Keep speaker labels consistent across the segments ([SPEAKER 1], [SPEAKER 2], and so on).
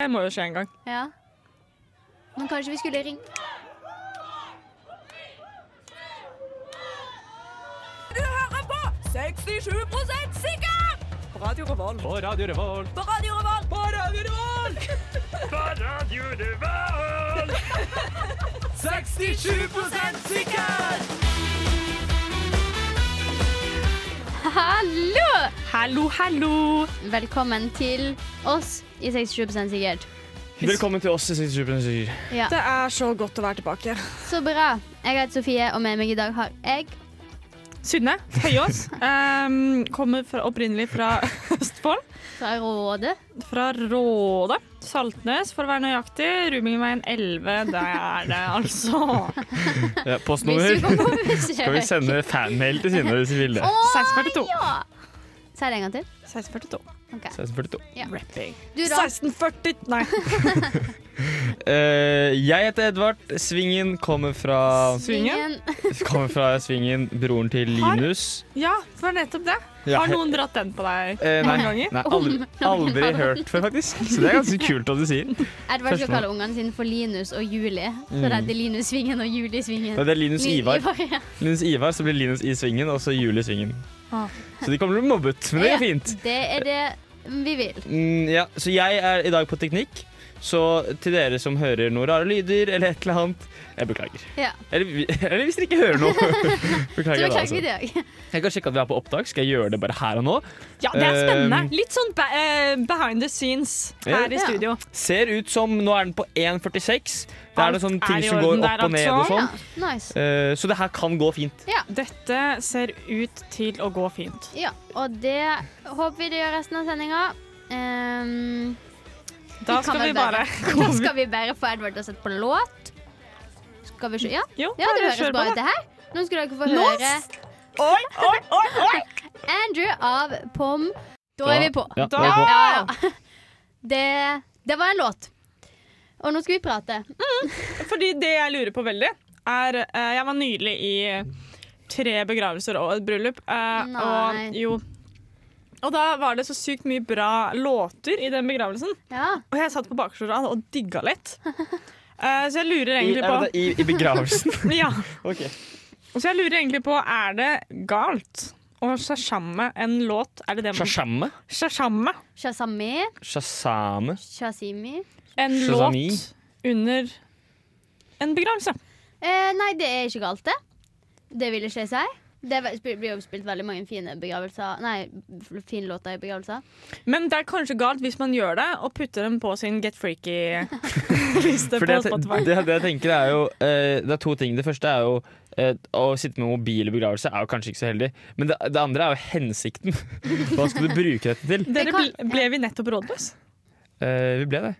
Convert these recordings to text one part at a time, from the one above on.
[SPEAKER 1] Det må jo skje en gang.
[SPEAKER 2] Ja. Men kanskje vi skulle ringt
[SPEAKER 3] Du hører på 67 sikker! På Radio Revolt.
[SPEAKER 4] På Radio Revolt.
[SPEAKER 3] På Radio Revolt. På Radio Revolt!
[SPEAKER 4] 67 sikker!
[SPEAKER 2] Hallo!
[SPEAKER 1] Hallo, hallo!
[SPEAKER 2] Velkommen til oss i 67 sikkert.
[SPEAKER 4] Velkommen til oss i 67 sikker.
[SPEAKER 2] Ja.
[SPEAKER 1] Det er så godt å være tilbake.
[SPEAKER 2] Så bra. Jeg heter Sofie, og med meg i dag har jeg
[SPEAKER 1] Synne Høyås um, kommer fra, opprinnelig fra Østfold.
[SPEAKER 2] fra Rådet.
[SPEAKER 1] Fra Råde. Saltnes, for å være nøyaktig. Rumingveien 11. Der er det, altså.
[SPEAKER 4] Ja,
[SPEAKER 2] Hvis du
[SPEAKER 4] postnummer.
[SPEAKER 2] kommer på besøk.
[SPEAKER 4] Skal vi sende fanmail til Synne hvis vi vil det?
[SPEAKER 2] Å,
[SPEAKER 1] 1642.
[SPEAKER 2] ja! Si det en gang til.
[SPEAKER 1] 1642.
[SPEAKER 2] Ok.
[SPEAKER 4] 1642.
[SPEAKER 1] Rapping.
[SPEAKER 2] Du, da.
[SPEAKER 1] 1640 Nei.
[SPEAKER 4] Eh, jeg heter Edvard. Svingen kommer fra
[SPEAKER 1] Svingen.
[SPEAKER 4] Kommer fra Svingen, broren til
[SPEAKER 1] Har-
[SPEAKER 4] Linus.
[SPEAKER 1] Ja, for nettopp det.
[SPEAKER 4] Ja,
[SPEAKER 1] Har noen dratt den på deg
[SPEAKER 4] eh, nei,
[SPEAKER 1] noen ganger?
[SPEAKER 4] nei, aldri, aldri hørt før, faktisk. Så det er ganske kult at du sier.
[SPEAKER 2] Edvard skal
[SPEAKER 4] Første
[SPEAKER 2] kalle ungene sine for Linus og Julie. Så
[SPEAKER 4] Mm.
[SPEAKER 2] det er Linus Svingen og Julie Svingen.
[SPEAKER 4] Nei, det er Linus
[SPEAKER 2] Lin-
[SPEAKER 4] Ivar.
[SPEAKER 2] ja.
[SPEAKER 4] Linus Ivar, så blir Linus i Svingen, og så Jul i Svingen.
[SPEAKER 1] Ah.
[SPEAKER 4] Så de kommer til å bli mobbet, men det
[SPEAKER 2] Ja.
[SPEAKER 4] er fint.
[SPEAKER 2] Det er det vi vil.
[SPEAKER 4] Mm, ja, så jeg er i dag på teknikk. Så til dere som hører noen rare lyder eller et eller annet, jeg beklager.
[SPEAKER 2] Ja.
[SPEAKER 4] Eller, vi- eller hvis dere ikke hører noe.
[SPEAKER 2] Så
[SPEAKER 4] Beklager,
[SPEAKER 2] beklager vi
[SPEAKER 4] altså.
[SPEAKER 2] det òg.
[SPEAKER 4] Jeg kan sjekke at vi er på opptak. Skal jeg gjøre det bare her og nå?
[SPEAKER 1] Ja, det er
[SPEAKER 4] Um,
[SPEAKER 1] spennende. Litt sånn be eh, behind the scenes her i
[SPEAKER 2] Ja.
[SPEAKER 1] studio.
[SPEAKER 4] Ser ut som Nå er den på 1,46. Det er
[SPEAKER 1] Alt
[SPEAKER 4] noen sånne
[SPEAKER 1] er i
[SPEAKER 4] ting som går
[SPEAKER 1] orden der,
[SPEAKER 4] opp og ned og
[SPEAKER 1] altså.
[SPEAKER 4] sånn.
[SPEAKER 2] Nice.
[SPEAKER 4] Eh, så det her kan gå fint.
[SPEAKER 1] Dette ser ut til å gå fint.
[SPEAKER 2] Ja, og det håper vi det gjør resten av sendinga. Ehm,
[SPEAKER 1] Da
[SPEAKER 2] kan
[SPEAKER 1] skal
[SPEAKER 2] vel
[SPEAKER 1] vi bare
[SPEAKER 2] da skal vi bare få Edvard til å sette på låt. Skal vi se Ja,
[SPEAKER 1] Jo,
[SPEAKER 2] ja det
[SPEAKER 1] bare
[SPEAKER 2] høres
[SPEAKER 1] kjør
[SPEAKER 2] bra
[SPEAKER 1] på,
[SPEAKER 2] ut,
[SPEAKER 1] da.
[SPEAKER 2] det her. Nå skal dere få
[SPEAKER 1] Nå
[SPEAKER 2] høre
[SPEAKER 1] Oi, oi, oi, oi!
[SPEAKER 2] Andrew av Pom. Da er vi på.
[SPEAKER 4] Ja,
[SPEAKER 1] Da-
[SPEAKER 4] vi er på.
[SPEAKER 2] Ja, ja. Det, det var en låt. Og nå skal vi prate.
[SPEAKER 1] Fordi det jeg lurer på veldig, er eh, Jeg var nylig i tre begravelser og et bryllup. eh,
[SPEAKER 2] Nei.
[SPEAKER 1] og jo. Og da var det så sykt mye bra låter i den begravelsen.
[SPEAKER 2] Ja,
[SPEAKER 1] Og jeg satt på bakerste rad og digga litt. Eh, så jeg lurer
[SPEAKER 4] I,
[SPEAKER 1] egentlig
[SPEAKER 4] er det
[SPEAKER 1] på
[SPEAKER 4] i, I begravelsen.
[SPEAKER 1] ja.
[SPEAKER 4] Ok.
[SPEAKER 1] Så jeg lurer egentlig på Er det galt å shashamme en låt? Er det det man
[SPEAKER 4] Shashamme?
[SPEAKER 1] Shashamme
[SPEAKER 2] Shazami,
[SPEAKER 4] Shazame?
[SPEAKER 2] Shazimi
[SPEAKER 1] en
[SPEAKER 4] Shazami.
[SPEAKER 1] låt under en begravelse?
[SPEAKER 2] eh, Nei, det er ikke galt, det. Det vil ikke jeg si. Det er ve- sp- blir jo spilt veldig mange fine begravelser Nei, f- fine låter i begravelser.
[SPEAKER 1] Men det er kanskje galt hvis man gjør det og putter dem på sin Get Freaky-liste
[SPEAKER 4] For
[SPEAKER 1] på
[SPEAKER 4] det, jeg te-
[SPEAKER 1] Spotify.
[SPEAKER 4] det, det jeg tenker er jo eh, Det er to ting. Det første er jo eh, å sitte med mobil i begravelse er jo kanskje ikke så heldig. Men det, det andre er jo hensikten. Hva skal du bruke dette til?
[SPEAKER 1] Dere
[SPEAKER 2] kan-
[SPEAKER 1] ble, ble vi nettopp rådløse?
[SPEAKER 4] Eh, vi ble det.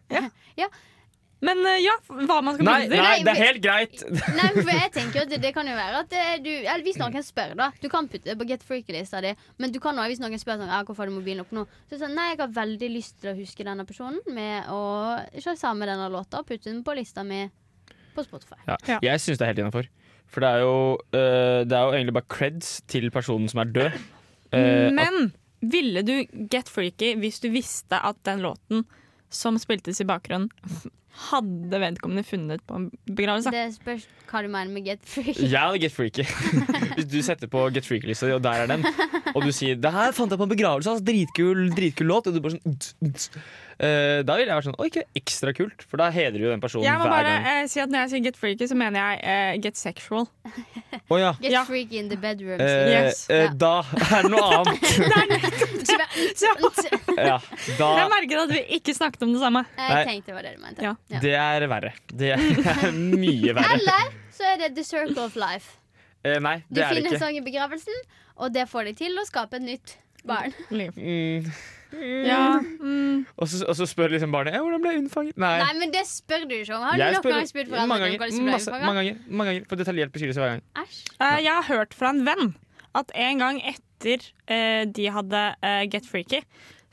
[SPEAKER 1] Men eh, ja, hva man skal
[SPEAKER 4] Nei,
[SPEAKER 1] bruke det til.
[SPEAKER 4] nei, det er helt greit!
[SPEAKER 2] Nei, for jeg tenker at det, det kan jo være at eh, du Eller hvis noen spør, da. Du kan putte det på Get Freaky-lista di, men du kan også, hvis noen spør sånn, ja, hvorfor har du mobilen opp nå, så sånn, nei, jeg har veldig lyst til å huske denne personen med å shazame denne låta og putte den på lista mi på Spotify.
[SPEAKER 4] Ja.
[SPEAKER 1] Ja.
[SPEAKER 4] Jeg syns det er helt innafor. For det er, jo, eh, det er jo egentlig bare creds til personen som er død. Eh, at,
[SPEAKER 1] Men ville du Get Freaky hvis du visste at den låten som spiltes i bakgrunnen, hadde vedkommende funnet på en
[SPEAKER 4] Altså-
[SPEAKER 1] begravelse?
[SPEAKER 2] Det spørs hva du mener med Get Freaky.
[SPEAKER 4] jeg hadde Get Freaky. Hvis du setter på Get Freaky-lista, og der er den, og du sier 'Det her fant jeg på en begravelse, ass. Dritkul, dritkul låt', og du bare sånn «Ts, ts». Eh, Da ville jeg vært sånn 'Oi, ikke ekstra kult', for da hedrer jo den personen
[SPEAKER 1] Jeg må
[SPEAKER 4] hver
[SPEAKER 1] bare
[SPEAKER 4] gang.
[SPEAKER 1] eh, si at Når jeg sier get freaky, så mener jeg eh, get sexual.
[SPEAKER 4] Å ja.
[SPEAKER 2] Get
[SPEAKER 1] Ja.
[SPEAKER 2] freaky in the bedroom.
[SPEAKER 4] Eh,
[SPEAKER 1] Yes.
[SPEAKER 4] eh,
[SPEAKER 2] Ja.
[SPEAKER 4] Da er det noe annet.
[SPEAKER 2] Ikke bare-
[SPEAKER 1] Så
[SPEAKER 4] ja, da
[SPEAKER 1] jeg merket at vi ikke snakket om det samme.
[SPEAKER 4] Nei.
[SPEAKER 2] Jeg tenkte det var det du mente.
[SPEAKER 1] Ja.
[SPEAKER 2] Ja.
[SPEAKER 4] Det er verre. Det er mye verre.
[SPEAKER 2] Eller så er det The Circle of Life.
[SPEAKER 4] Eh, nei,
[SPEAKER 2] Du
[SPEAKER 4] det er
[SPEAKER 2] finner
[SPEAKER 4] det
[SPEAKER 2] en
[SPEAKER 4] ikke.
[SPEAKER 2] sang i begravelsen, og det får deg til å skape et nytt barn.
[SPEAKER 1] Liv.
[SPEAKER 4] Mm.
[SPEAKER 1] Ja, mm.
[SPEAKER 4] Og, så, og så spør liksom barnet «Ja, 'Hvordan ble jeg unnfanget?' Nei.
[SPEAKER 2] Nei, men det spør du ikke om. Har du
[SPEAKER 4] Jeg
[SPEAKER 2] noen
[SPEAKER 4] spør-
[SPEAKER 2] gang spurt
[SPEAKER 4] mange
[SPEAKER 2] foreldrene om hva de
[SPEAKER 4] ganger,
[SPEAKER 2] skulle
[SPEAKER 4] masse,
[SPEAKER 2] bli
[SPEAKER 4] mange ganger, mange ganger. På detaljert beskrivelse hver gang.
[SPEAKER 2] Æsj.
[SPEAKER 1] Eh, Jeg har hørt fra en venn at en gang etter eh, de hadde eh, Get Freaky,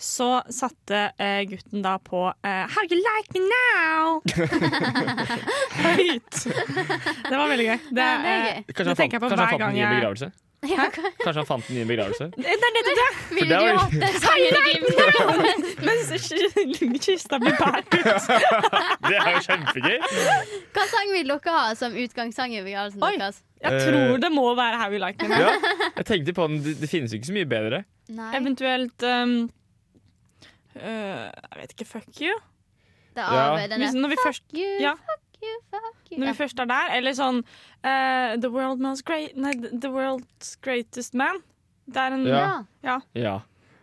[SPEAKER 1] så satte eh, gutten da på eh, How you like me now? Høyt. Det var veldig gøy. Det,
[SPEAKER 2] Ja, det er
[SPEAKER 1] eh,
[SPEAKER 2] gøy.
[SPEAKER 1] det tenker jeg på hver gang jeg
[SPEAKER 4] begravelse.
[SPEAKER 2] Ja, hva-
[SPEAKER 4] Kanskje han fant en ny begravelse.
[SPEAKER 1] eh, Det er nettopp det!
[SPEAKER 2] Ville
[SPEAKER 4] det
[SPEAKER 2] du
[SPEAKER 4] var-
[SPEAKER 2] hatt den sangen i din?
[SPEAKER 1] Mens k- kista blir båret ut.
[SPEAKER 4] Det er jo kjempegøy!
[SPEAKER 2] Hva sang vil dere ha som utgangssang i begravelsen
[SPEAKER 1] Oi.
[SPEAKER 2] deres?
[SPEAKER 1] Jeg tror det må være How You Like Me.
[SPEAKER 4] Ja, jeg tenkte på den, det, det finnes jo ikke så mye bedre.
[SPEAKER 2] Nei,
[SPEAKER 1] Eventuelt um, øh, Jeg vet ikke. Fuck you.
[SPEAKER 2] det er av
[SPEAKER 4] Ja.
[SPEAKER 2] den
[SPEAKER 1] Hvis,
[SPEAKER 2] der
[SPEAKER 1] når vi først
[SPEAKER 2] Fuck you,
[SPEAKER 1] Ja.
[SPEAKER 2] fuck you, fuck you.
[SPEAKER 1] Når
[SPEAKER 2] Ja.
[SPEAKER 1] vi først er der, eller sånn eh, The world most great Nei, The world's greatest man. Det er en
[SPEAKER 4] Ja.
[SPEAKER 2] Ja.
[SPEAKER 4] Ja.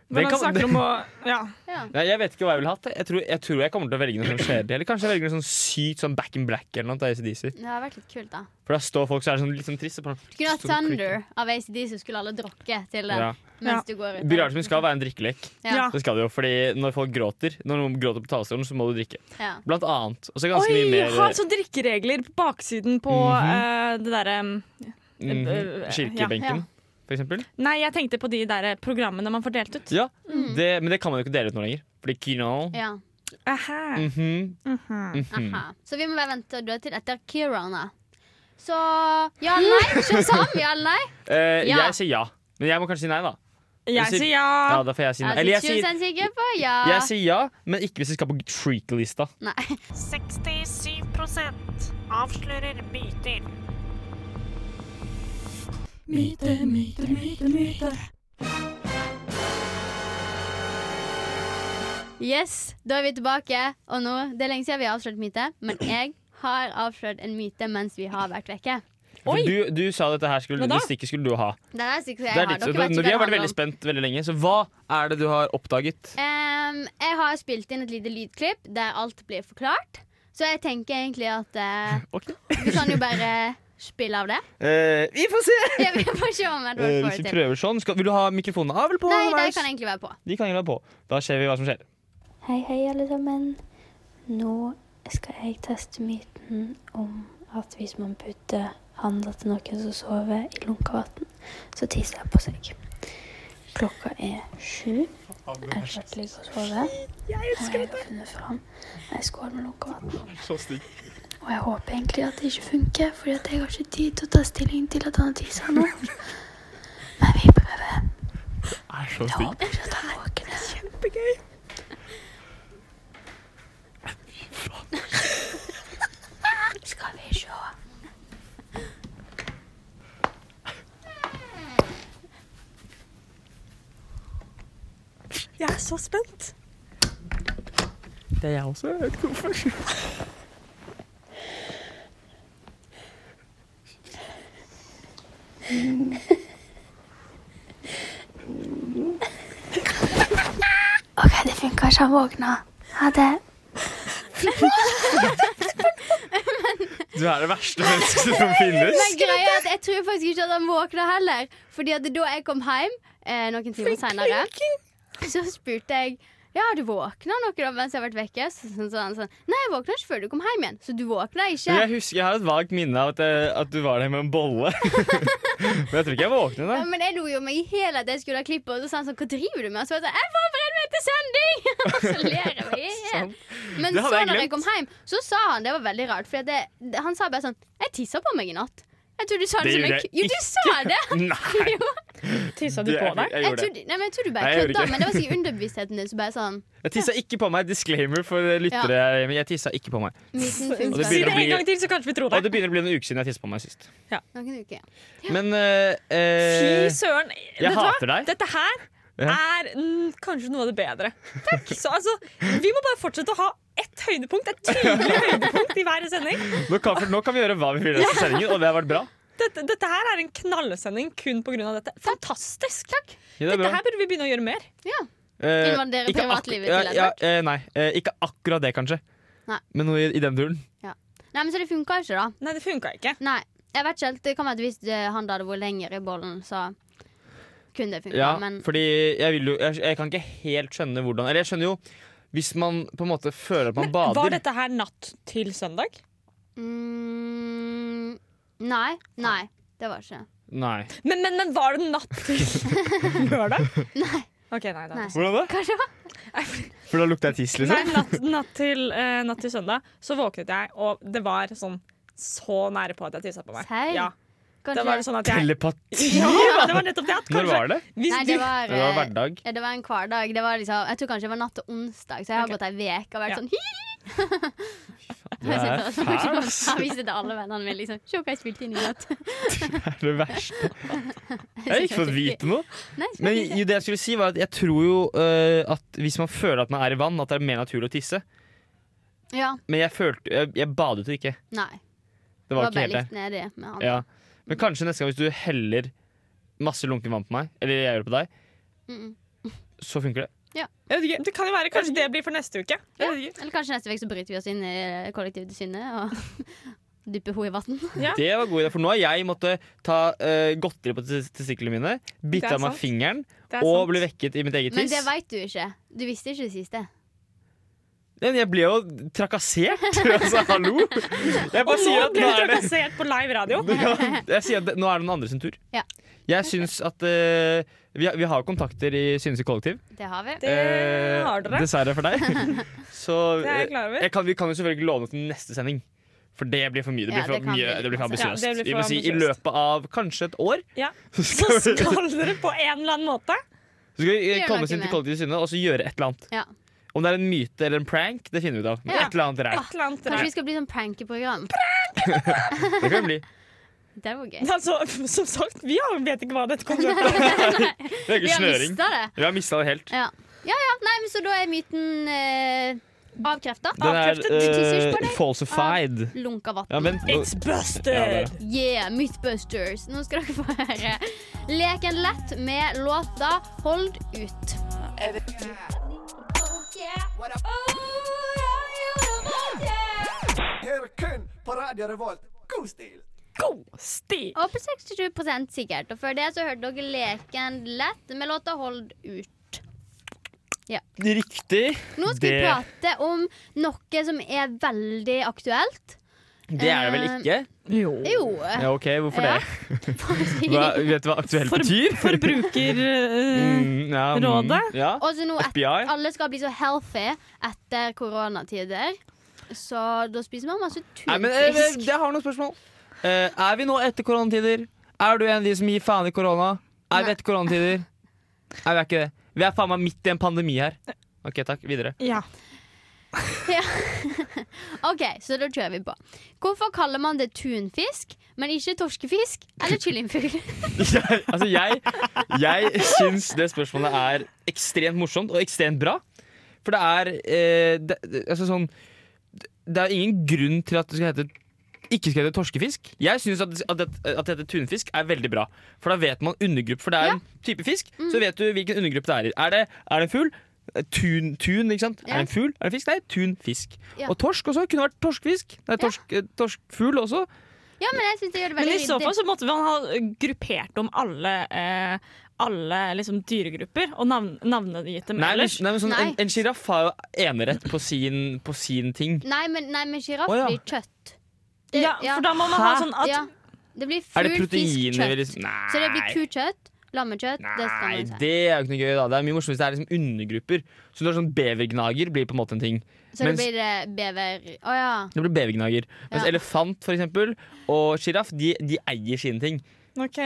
[SPEAKER 4] Den
[SPEAKER 1] Hvordan
[SPEAKER 4] kan-
[SPEAKER 1] snakker om å Ja.
[SPEAKER 2] ja.
[SPEAKER 4] Nei, jeg vet ikke hva jeg ville hatt. Jeg tror, jeg tror jeg kommer til å velge noe sånn kjedelig. Eller kanskje jeg velger noe sånn sykt sånn back in black eller noe til ACDC.
[SPEAKER 2] Det har vært litt kult, da.
[SPEAKER 4] For da står folk så er det sånn, litt sånn trist. og bare-
[SPEAKER 2] Du kunne hatt
[SPEAKER 4] Står og klikker.
[SPEAKER 2] Thunder av ACDC, skulle alle drokke til den
[SPEAKER 4] Ja.
[SPEAKER 2] mens du går ut.
[SPEAKER 4] Begravelsen min skal være en drikkelek.
[SPEAKER 2] Ja.
[SPEAKER 4] Det skal det jo, fordi når folk gråter, når noen gråter på talerstolen, så må du drikke.
[SPEAKER 2] Ja.
[SPEAKER 4] Blant annet. Og så er det
[SPEAKER 1] Oi!
[SPEAKER 4] ganske mye mer
[SPEAKER 1] Har sånne drikkeregler på baksiden på eh, det derre um, øh,
[SPEAKER 4] mhm,
[SPEAKER 1] Mm. øh,
[SPEAKER 4] kirkebenken,
[SPEAKER 2] ja.
[SPEAKER 4] for eksempel.
[SPEAKER 1] Nei, jeg tenkte på de der programmene man får delt ut.
[SPEAKER 4] Ja, det, men det kan man jo ikke dele ut nå lenger. Fordi kino
[SPEAKER 2] Ja.
[SPEAKER 1] Aha.
[SPEAKER 4] Mhm,
[SPEAKER 1] Mhm.
[SPEAKER 4] mhm.
[SPEAKER 2] Aha. Så vi må bare vente og dø til etter Kirana. Så ja eller nei? Shazam, ja eller nei?
[SPEAKER 4] Eh,
[SPEAKER 2] Ja.
[SPEAKER 4] Jeg sier ja. Men jeg må kanskje si nei, da.
[SPEAKER 1] Jeg
[SPEAKER 4] sier-
[SPEAKER 1] sier ja.
[SPEAKER 4] Ja, da får jeg si nei.
[SPEAKER 2] Er
[SPEAKER 4] Eller
[SPEAKER 2] du
[SPEAKER 4] jeg sier,
[SPEAKER 2] 20 sikker Altså, på ja?
[SPEAKER 4] jeg sier ja, men ikke hvis det skal på freak-lista.
[SPEAKER 2] Nei.
[SPEAKER 5] 67 avslører myter.
[SPEAKER 2] Yes, da er vi tilbake. Og nå, Det er lenge siden vi har avslørt myte, men jeg har avslørt en myte mens vi har vært vekke.
[SPEAKER 4] For
[SPEAKER 1] Oi.
[SPEAKER 4] Du, du sa dette her skulle,
[SPEAKER 1] Hva da?
[SPEAKER 4] det stikket skulle du ha.
[SPEAKER 2] Det er sikkert jeg
[SPEAKER 4] Det er
[SPEAKER 2] har. Dere
[SPEAKER 4] ditt,
[SPEAKER 2] vet
[SPEAKER 4] når
[SPEAKER 2] ikke
[SPEAKER 4] vi har
[SPEAKER 2] hva det handler
[SPEAKER 4] vært veldig
[SPEAKER 2] om.
[SPEAKER 4] spent veldig lenge, så hva er det du har oppdaget?
[SPEAKER 2] Ehm, jeg har spilt inn et lite lydklipp der alt blir forklart. Så jeg tenker egentlig at eh, vi kan jo bare spille av det.
[SPEAKER 4] Eh, vi får se!
[SPEAKER 2] Ja, vi får se om Edward
[SPEAKER 4] Eh,
[SPEAKER 2] får
[SPEAKER 4] hvis
[SPEAKER 2] det
[SPEAKER 4] vi
[SPEAKER 2] til.
[SPEAKER 4] prøver sånn, skal, Vil du ha mikrofonen av eller på?
[SPEAKER 2] Nei, de
[SPEAKER 4] underveis?
[SPEAKER 2] kan egentlig være på.
[SPEAKER 4] De kan egentlig være på. Da ser vi hva som skjer.
[SPEAKER 6] Hei, hei, alle sammen. Nå skal jeg teste myten om at hvis man putter handa til noen som sover i lunka vann, så tisser jeg på seg. Klokka er sju. Jeg skal ligge og sove. Og jeg har funnet fram ei skål med lunka vann. Og jeg håper egentlig at det ikke funker, fordi at jeg har ikke tid til å ta stilling til at han har tissa nå. Men vi prøver.
[SPEAKER 4] Er så stygg.
[SPEAKER 6] Håper ikke at han våkner. Kjempegøy. Skal vi se.
[SPEAKER 1] Jeg er så spent.
[SPEAKER 4] Det er jeg også. Jeg vet ikke hvorfor.
[SPEAKER 6] OK, det funka ikke. Han våkna. Ha det.
[SPEAKER 4] Du er det verste mennesket som finnes.
[SPEAKER 2] Men greia er at jeg tror faktisk ikke at han våkna heller. Fordi at da jeg kom hjem eh, noen timer senere, så spurte jeg ja, du våkna noe da mens jeg har vært vekke. Så så sa han sånn Nei, jeg våkna ikke før du kom hjem igjen. Så du våkna ikke.
[SPEAKER 4] Jeg husker, jeg har et vagt minne av at, jeg- at du var der med en bolle. Men jeg tror ikke jeg våknet
[SPEAKER 2] Ja,
[SPEAKER 4] da.
[SPEAKER 2] men jeg lo jo meg i hele at jeg skulle ha klippet, og så sa han sånn Hva driver du med? Og så var jeg sånn Jeg forbereder meg til sending! Og så ler jeg meg i hjel.
[SPEAKER 4] Sant.
[SPEAKER 2] Men
[SPEAKER 4] Sånn. Det
[SPEAKER 2] så
[SPEAKER 4] hadde jeg
[SPEAKER 2] når jeg
[SPEAKER 4] glemt.
[SPEAKER 2] kom hjem, så sa han det var veldig rart. For det, det- han sa bare sånn Jeg tissa på meg i natt. Jeg tror du sa det,
[SPEAKER 4] Det
[SPEAKER 2] som
[SPEAKER 4] gjorde
[SPEAKER 2] en
[SPEAKER 4] jeg
[SPEAKER 2] k- Jo, du sa det!
[SPEAKER 4] Nei,
[SPEAKER 2] Jo.
[SPEAKER 1] Tissa du
[SPEAKER 4] det-
[SPEAKER 1] på deg?
[SPEAKER 4] jeg
[SPEAKER 2] Jeg
[SPEAKER 4] gjorde
[SPEAKER 2] tror,
[SPEAKER 4] det.
[SPEAKER 2] nei, men jeg tror du
[SPEAKER 4] Nei,
[SPEAKER 2] bare
[SPEAKER 4] jeg gjorde
[SPEAKER 2] kødda,
[SPEAKER 4] ikke.
[SPEAKER 2] men det var sikkert underbevisstheten din. Så bare sånn
[SPEAKER 4] Jeg tissa ikke på meg. Disclaimer for eh, lyttere. Men jeg tissa ikke på meg.
[SPEAKER 2] myten
[SPEAKER 1] Si
[SPEAKER 2] finnes
[SPEAKER 4] det
[SPEAKER 2] bare.
[SPEAKER 4] begynner
[SPEAKER 1] det
[SPEAKER 4] å
[SPEAKER 1] en
[SPEAKER 4] bli-
[SPEAKER 1] gang til, så kanskje vi tror
[SPEAKER 4] Og
[SPEAKER 1] deg.
[SPEAKER 4] det begynner å bli en uke siden jeg tissa på meg sist.
[SPEAKER 2] Noen uker.
[SPEAKER 4] Men eh, eh,
[SPEAKER 1] Fy søren.
[SPEAKER 4] jeg
[SPEAKER 1] Vet du hva?
[SPEAKER 4] hater deg.
[SPEAKER 1] Dette her
[SPEAKER 4] Ja.
[SPEAKER 1] er mm, kanskje noe av det bedre. Takk. Så altså, vi må bare fortsette å ha ett høydepunkt, et tydelig høydepunkt i hver sending.
[SPEAKER 4] Nå kan, for nå kan vi gjøre hva vi vil i denne sendingen, og det har vært bra.
[SPEAKER 1] Dette, dette her er en knallsending kun pga. dette. Fantastisk!
[SPEAKER 4] Ja, det er
[SPEAKER 1] Dette
[SPEAKER 4] bra.
[SPEAKER 1] her burde vi begynne å gjøre mer.
[SPEAKER 4] Eh,
[SPEAKER 2] Invadere
[SPEAKER 4] ikke ak-
[SPEAKER 2] privatlivet
[SPEAKER 4] ja,
[SPEAKER 2] til
[SPEAKER 4] ja,
[SPEAKER 2] Edvard.
[SPEAKER 4] eh, Nei, eh, ikke akkurat det, kanskje.
[SPEAKER 2] Nei.
[SPEAKER 4] Men noe i, i den duren.
[SPEAKER 2] Nei, men så det funka ikke, da.
[SPEAKER 1] Nei, det funka ikke.
[SPEAKER 2] Nei. Jeg vet ikke helt. Det kan være at hvis eh, han da hadde vært lenger i bollen, så kunne det funka.
[SPEAKER 4] Ja,
[SPEAKER 2] men
[SPEAKER 4] fordi jeg, vil jo, jeg, jeg kan ikke helt skjønne hvordan Eller jeg skjønner jo hvis man på en måte føler at man bader.
[SPEAKER 1] Var dette her natt til søndag?
[SPEAKER 2] mm, Nei. Nei. Det var ikke det.
[SPEAKER 4] Nei.
[SPEAKER 1] Men, men, men var det natt til lørdag?
[SPEAKER 2] Nei.
[SPEAKER 1] Ok, nei, da.
[SPEAKER 2] Nei.
[SPEAKER 4] Hvordan det?
[SPEAKER 2] Kanskje det var
[SPEAKER 4] For da lukter jeg tiss, liksom.
[SPEAKER 1] Nei, natt, natt, til, eh, natt til søndag så våknet jeg, og det var sånn så nære på at jeg tissa på meg.
[SPEAKER 2] Serr?
[SPEAKER 1] Ja. Da var det sånn at jeg
[SPEAKER 4] Telepati?
[SPEAKER 1] ja, det var nettopp det. At
[SPEAKER 4] Når
[SPEAKER 1] kanskje,
[SPEAKER 4] var det?
[SPEAKER 1] Hvis
[SPEAKER 2] Nei,
[SPEAKER 1] du,
[SPEAKER 2] det var,
[SPEAKER 4] Det var
[SPEAKER 2] eh,
[SPEAKER 4] hverdag.
[SPEAKER 2] ja, det var en hverdag. Det var liksom, jeg tror kanskje det var natt til onsdag, så jeg har
[SPEAKER 1] Ok.
[SPEAKER 2] gått ei uke og vært
[SPEAKER 1] Ja.
[SPEAKER 2] sånn hi!
[SPEAKER 4] Du er fæl, ass.
[SPEAKER 2] Jeg viste til alle vennene mine liksom Se hva jeg spilte inn i natt.
[SPEAKER 4] Det er det verste. Jeg har ikke fått vite noe.
[SPEAKER 2] Nei, skal
[SPEAKER 4] Men
[SPEAKER 2] jeg ikke.
[SPEAKER 4] jo, det jeg skulle si var at jeg tror jo eh, at hvis man føler at man er i vann, at det er mer naturlig å tisse.
[SPEAKER 2] Ja,
[SPEAKER 4] Men jeg følte Jeg, jeg badet jo ikke.
[SPEAKER 2] nei.
[SPEAKER 4] Det
[SPEAKER 2] Det
[SPEAKER 4] var
[SPEAKER 2] var
[SPEAKER 4] ikke
[SPEAKER 2] bare
[SPEAKER 4] helt det.
[SPEAKER 2] litt nedi med han.
[SPEAKER 4] Ja. Men kanskje neste gang hvis du heller masse lunken vann på meg, eller jeg gjør det på deg,
[SPEAKER 2] Mm.
[SPEAKER 4] så funker det.
[SPEAKER 1] jeg vet ikke, det kan jo være kanskje det blir for neste uke. Jeg vet ikke.
[SPEAKER 2] Eller kanskje neste uke så bryter vi oss inn i kollektivet til Synne og dypper henne i vann.
[SPEAKER 1] Ja.
[SPEAKER 4] Det var god idé, for nå har jeg måttet ta eh, godteri på tes- testiklene mine,
[SPEAKER 1] Det
[SPEAKER 4] bitte
[SPEAKER 1] er
[SPEAKER 4] av meg
[SPEAKER 1] sant.
[SPEAKER 4] fingeren
[SPEAKER 1] Det er sånn-
[SPEAKER 4] og
[SPEAKER 1] sant.
[SPEAKER 4] ble vekket i mitt eget
[SPEAKER 2] Men
[SPEAKER 4] tiss.
[SPEAKER 2] det veit du ikke. Du visste ikke det siste.
[SPEAKER 4] Ja, men Jeg ble jo trakassert! altså, hallo! Jeg bare
[SPEAKER 1] Og nå
[SPEAKER 4] sier at
[SPEAKER 1] ble du
[SPEAKER 4] nå er det
[SPEAKER 1] trakassert på live radio.
[SPEAKER 4] Ja, Jeg sier at det, nå er det noen andre sin tur.
[SPEAKER 2] Ja.
[SPEAKER 4] Jeg syns at eh, vi, har- vi har kontakter i Synse kollektiv.
[SPEAKER 2] Det har vi.
[SPEAKER 1] Det
[SPEAKER 4] Eh,
[SPEAKER 1] har dere.
[SPEAKER 4] Dessverre for deg. Så
[SPEAKER 1] Det er jeg klar over.
[SPEAKER 4] eh, jeg kan, vi kan jo selvfølgelig love noe til neste sending. For det blir for mye. Det
[SPEAKER 2] Ja,
[SPEAKER 4] blir for,
[SPEAKER 2] det kan
[SPEAKER 4] mye,
[SPEAKER 2] vi.
[SPEAKER 4] det blir for
[SPEAKER 2] Ja,
[SPEAKER 4] ambisiøst.
[SPEAKER 1] det blir
[SPEAKER 4] vi
[SPEAKER 1] for
[SPEAKER 4] må si i
[SPEAKER 1] ambisiøst.
[SPEAKER 4] løpet av kanskje et år
[SPEAKER 1] Ja.
[SPEAKER 4] så
[SPEAKER 1] Så
[SPEAKER 4] skal vi,
[SPEAKER 1] skal dere på en eller annen måte
[SPEAKER 4] så skal vi
[SPEAKER 2] Gjør
[SPEAKER 4] eh, komme
[SPEAKER 2] noe
[SPEAKER 4] oss inn til
[SPEAKER 2] med.
[SPEAKER 4] Kollektiv Synne og så gjøre et eller annet.
[SPEAKER 2] Ja.
[SPEAKER 4] Om det er en myte eller en prank, det finner vi ut av. Men
[SPEAKER 2] Ja.
[SPEAKER 4] Et eller annet ræl.
[SPEAKER 1] et eller annet
[SPEAKER 2] Kanskje
[SPEAKER 1] der.
[SPEAKER 2] vi skal bli sånn prankeprogram.
[SPEAKER 4] Det kan bli.
[SPEAKER 2] Det var gøy.
[SPEAKER 1] Altså, som sagt, vi har- vet ikke hva dette konseptet er.
[SPEAKER 4] Det er
[SPEAKER 2] Vi
[SPEAKER 4] ikke
[SPEAKER 2] har
[SPEAKER 4] snøring.
[SPEAKER 2] mista det.
[SPEAKER 4] Vi har mista det helt.
[SPEAKER 2] Ja. ja ja, nei, men så da er myten eh, avkrefta.
[SPEAKER 4] Den er
[SPEAKER 1] Avkreftet.
[SPEAKER 2] Du tisser på
[SPEAKER 4] eh,
[SPEAKER 2] deg.
[SPEAKER 4] falsified.
[SPEAKER 2] Lunka vann.
[SPEAKER 4] Ja, vent. nå-
[SPEAKER 1] It's busted!
[SPEAKER 2] Yeah, Mythbusters. Nå skal dere få høre Leken lett med låta Hold ut.
[SPEAKER 7] Her er kun på Radio Revolt. God stil!
[SPEAKER 1] God stil!
[SPEAKER 2] Og på 67 sikkert. Og før det så hørte dere Leken lett med låta Hold ut.
[SPEAKER 4] Riktig.
[SPEAKER 2] Nå skal vi
[SPEAKER 4] Det-
[SPEAKER 2] prate om noe som er veldig aktuelt.
[SPEAKER 4] Det er det vel ikke?
[SPEAKER 2] Jo.
[SPEAKER 4] Ja, ok, Hvorfor
[SPEAKER 2] Eh, Ja.
[SPEAKER 4] det? Hva, vet du hva aktuell
[SPEAKER 1] For-
[SPEAKER 4] betyr?
[SPEAKER 1] Forbruker... eh,
[SPEAKER 4] Mm, ja, mm,
[SPEAKER 1] Rådet?
[SPEAKER 4] Ja.
[SPEAKER 2] Og så nå et,
[SPEAKER 4] FBI?
[SPEAKER 2] alle skal bli så healthy etter koronatider. Så da spiser man masse
[SPEAKER 4] Nei, men eh,
[SPEAKER 2] tunfisk.
[SPEAKER 4] Jeg har noen spørsmål. Eh, er vi nå etter koronatider? Er du en av de som gir faen i korona? Er vi
[SPEAKER 2] Nei.
[SPEAKER 4] etter koronatider? Nei, vi er ikke det. Vi er faen meg midt i en pandemi her. OK, takk. Videre.
[SPEAKER 1] ja.
[SPEAKER 2] OK, så da kjører vi på. Hvorfor kaller man det tunfisk, men ikke torskefisk eller kyllingfugl?
[SPEAKER 4] Jeg, altså, jeg, jeg syns det spørsmålet er ekstremt morsomt og ekstremt bra. For det er eh, det, det- altså, sånn, det er ingen grunn til at det skal hete ikke skal hete torskefisk. Jeg syns at, at, det- at det heter tunfisk er veldig bra. For da vet man undergruppe. For det er en type fisk,
[SPEAKER 2] Mm.
[SPEAKER 4] så vet du hvilken undergruppe det er i. Er det, er det en fugl? Eh, Tun, tun, ikke sant?
[SPEAKER 2] Ja.
[SPEAKER 4] Er det en fugl? Er det en fisk? Nei, tunfisk.
[SPEAKER 2] Ja.
[SPEAKER 4] Og torsk også. Kunne vært torskfisk. Nei, torsk, eh, torskfugl også.
[SPEAKER 2] Ja, men jeg synes det gjør det
[SPEAKER 1] Men
[SPEAKER 2] veldig
[SPEAKER 1] i så fall
[SPEAKER 2] ryddig.
[SPEAKER 1] så måtte man ha gruppert om alle, eh, alle liksom dyregrupper og navn, navnegitt dem
[SPEAKER 4] Nei, men,
[SPEAKER 1] ellers.
[SPEAKER 4] nei, men sånn,
[SPEAKER 2] Nei.
[SPEAKER 4] En sjiraff har jo enerett på sin, på sin ting.
[SPEAKER 2] Nei, men, nei, men sjiraff
[SPEAKER 4] Å, ja.
[SPEAKER 2] blir kjøtt. Det-
[SPEAKER 1] Ja, for da må man ha
[SPEAKER 4] Hæ?
[SPEAKER 1] sånn at
[SPEAKER 2] ja. Det blir
[SPEAKER 4] Er det
[SPEAKER 2] fugl, fisk,
[SPEAKER 4] proteiner vi
[SPEAKER 2] kjøtt.
[SPEAKER 4] liksom Nei,
[SPEAKER 2] Så det blir kukjøtt, lammekjøtt. Det skal
[SPEAKER 4] nei
[SPEAKER 2] man si.
[SPEAKER 4] det er jo ikke noe gøy. da Det er mye morsomt hvis det er liksom undergrupper. Så du har sånn Bevergnager blir på en måte en ting.
[SPEAKER 2] Så det
[SPEAKER 4] mens-
[SPEAKER 2] blir eh, bever Å ja.
[SPEAKER 4] Det blir bevergnager Mens
[SPEAKER 2] Ja.
[SPEAKER 4] elefant for eksempel, og sjiraff de, de eier sine ting.
[SPEAKER 1] OK.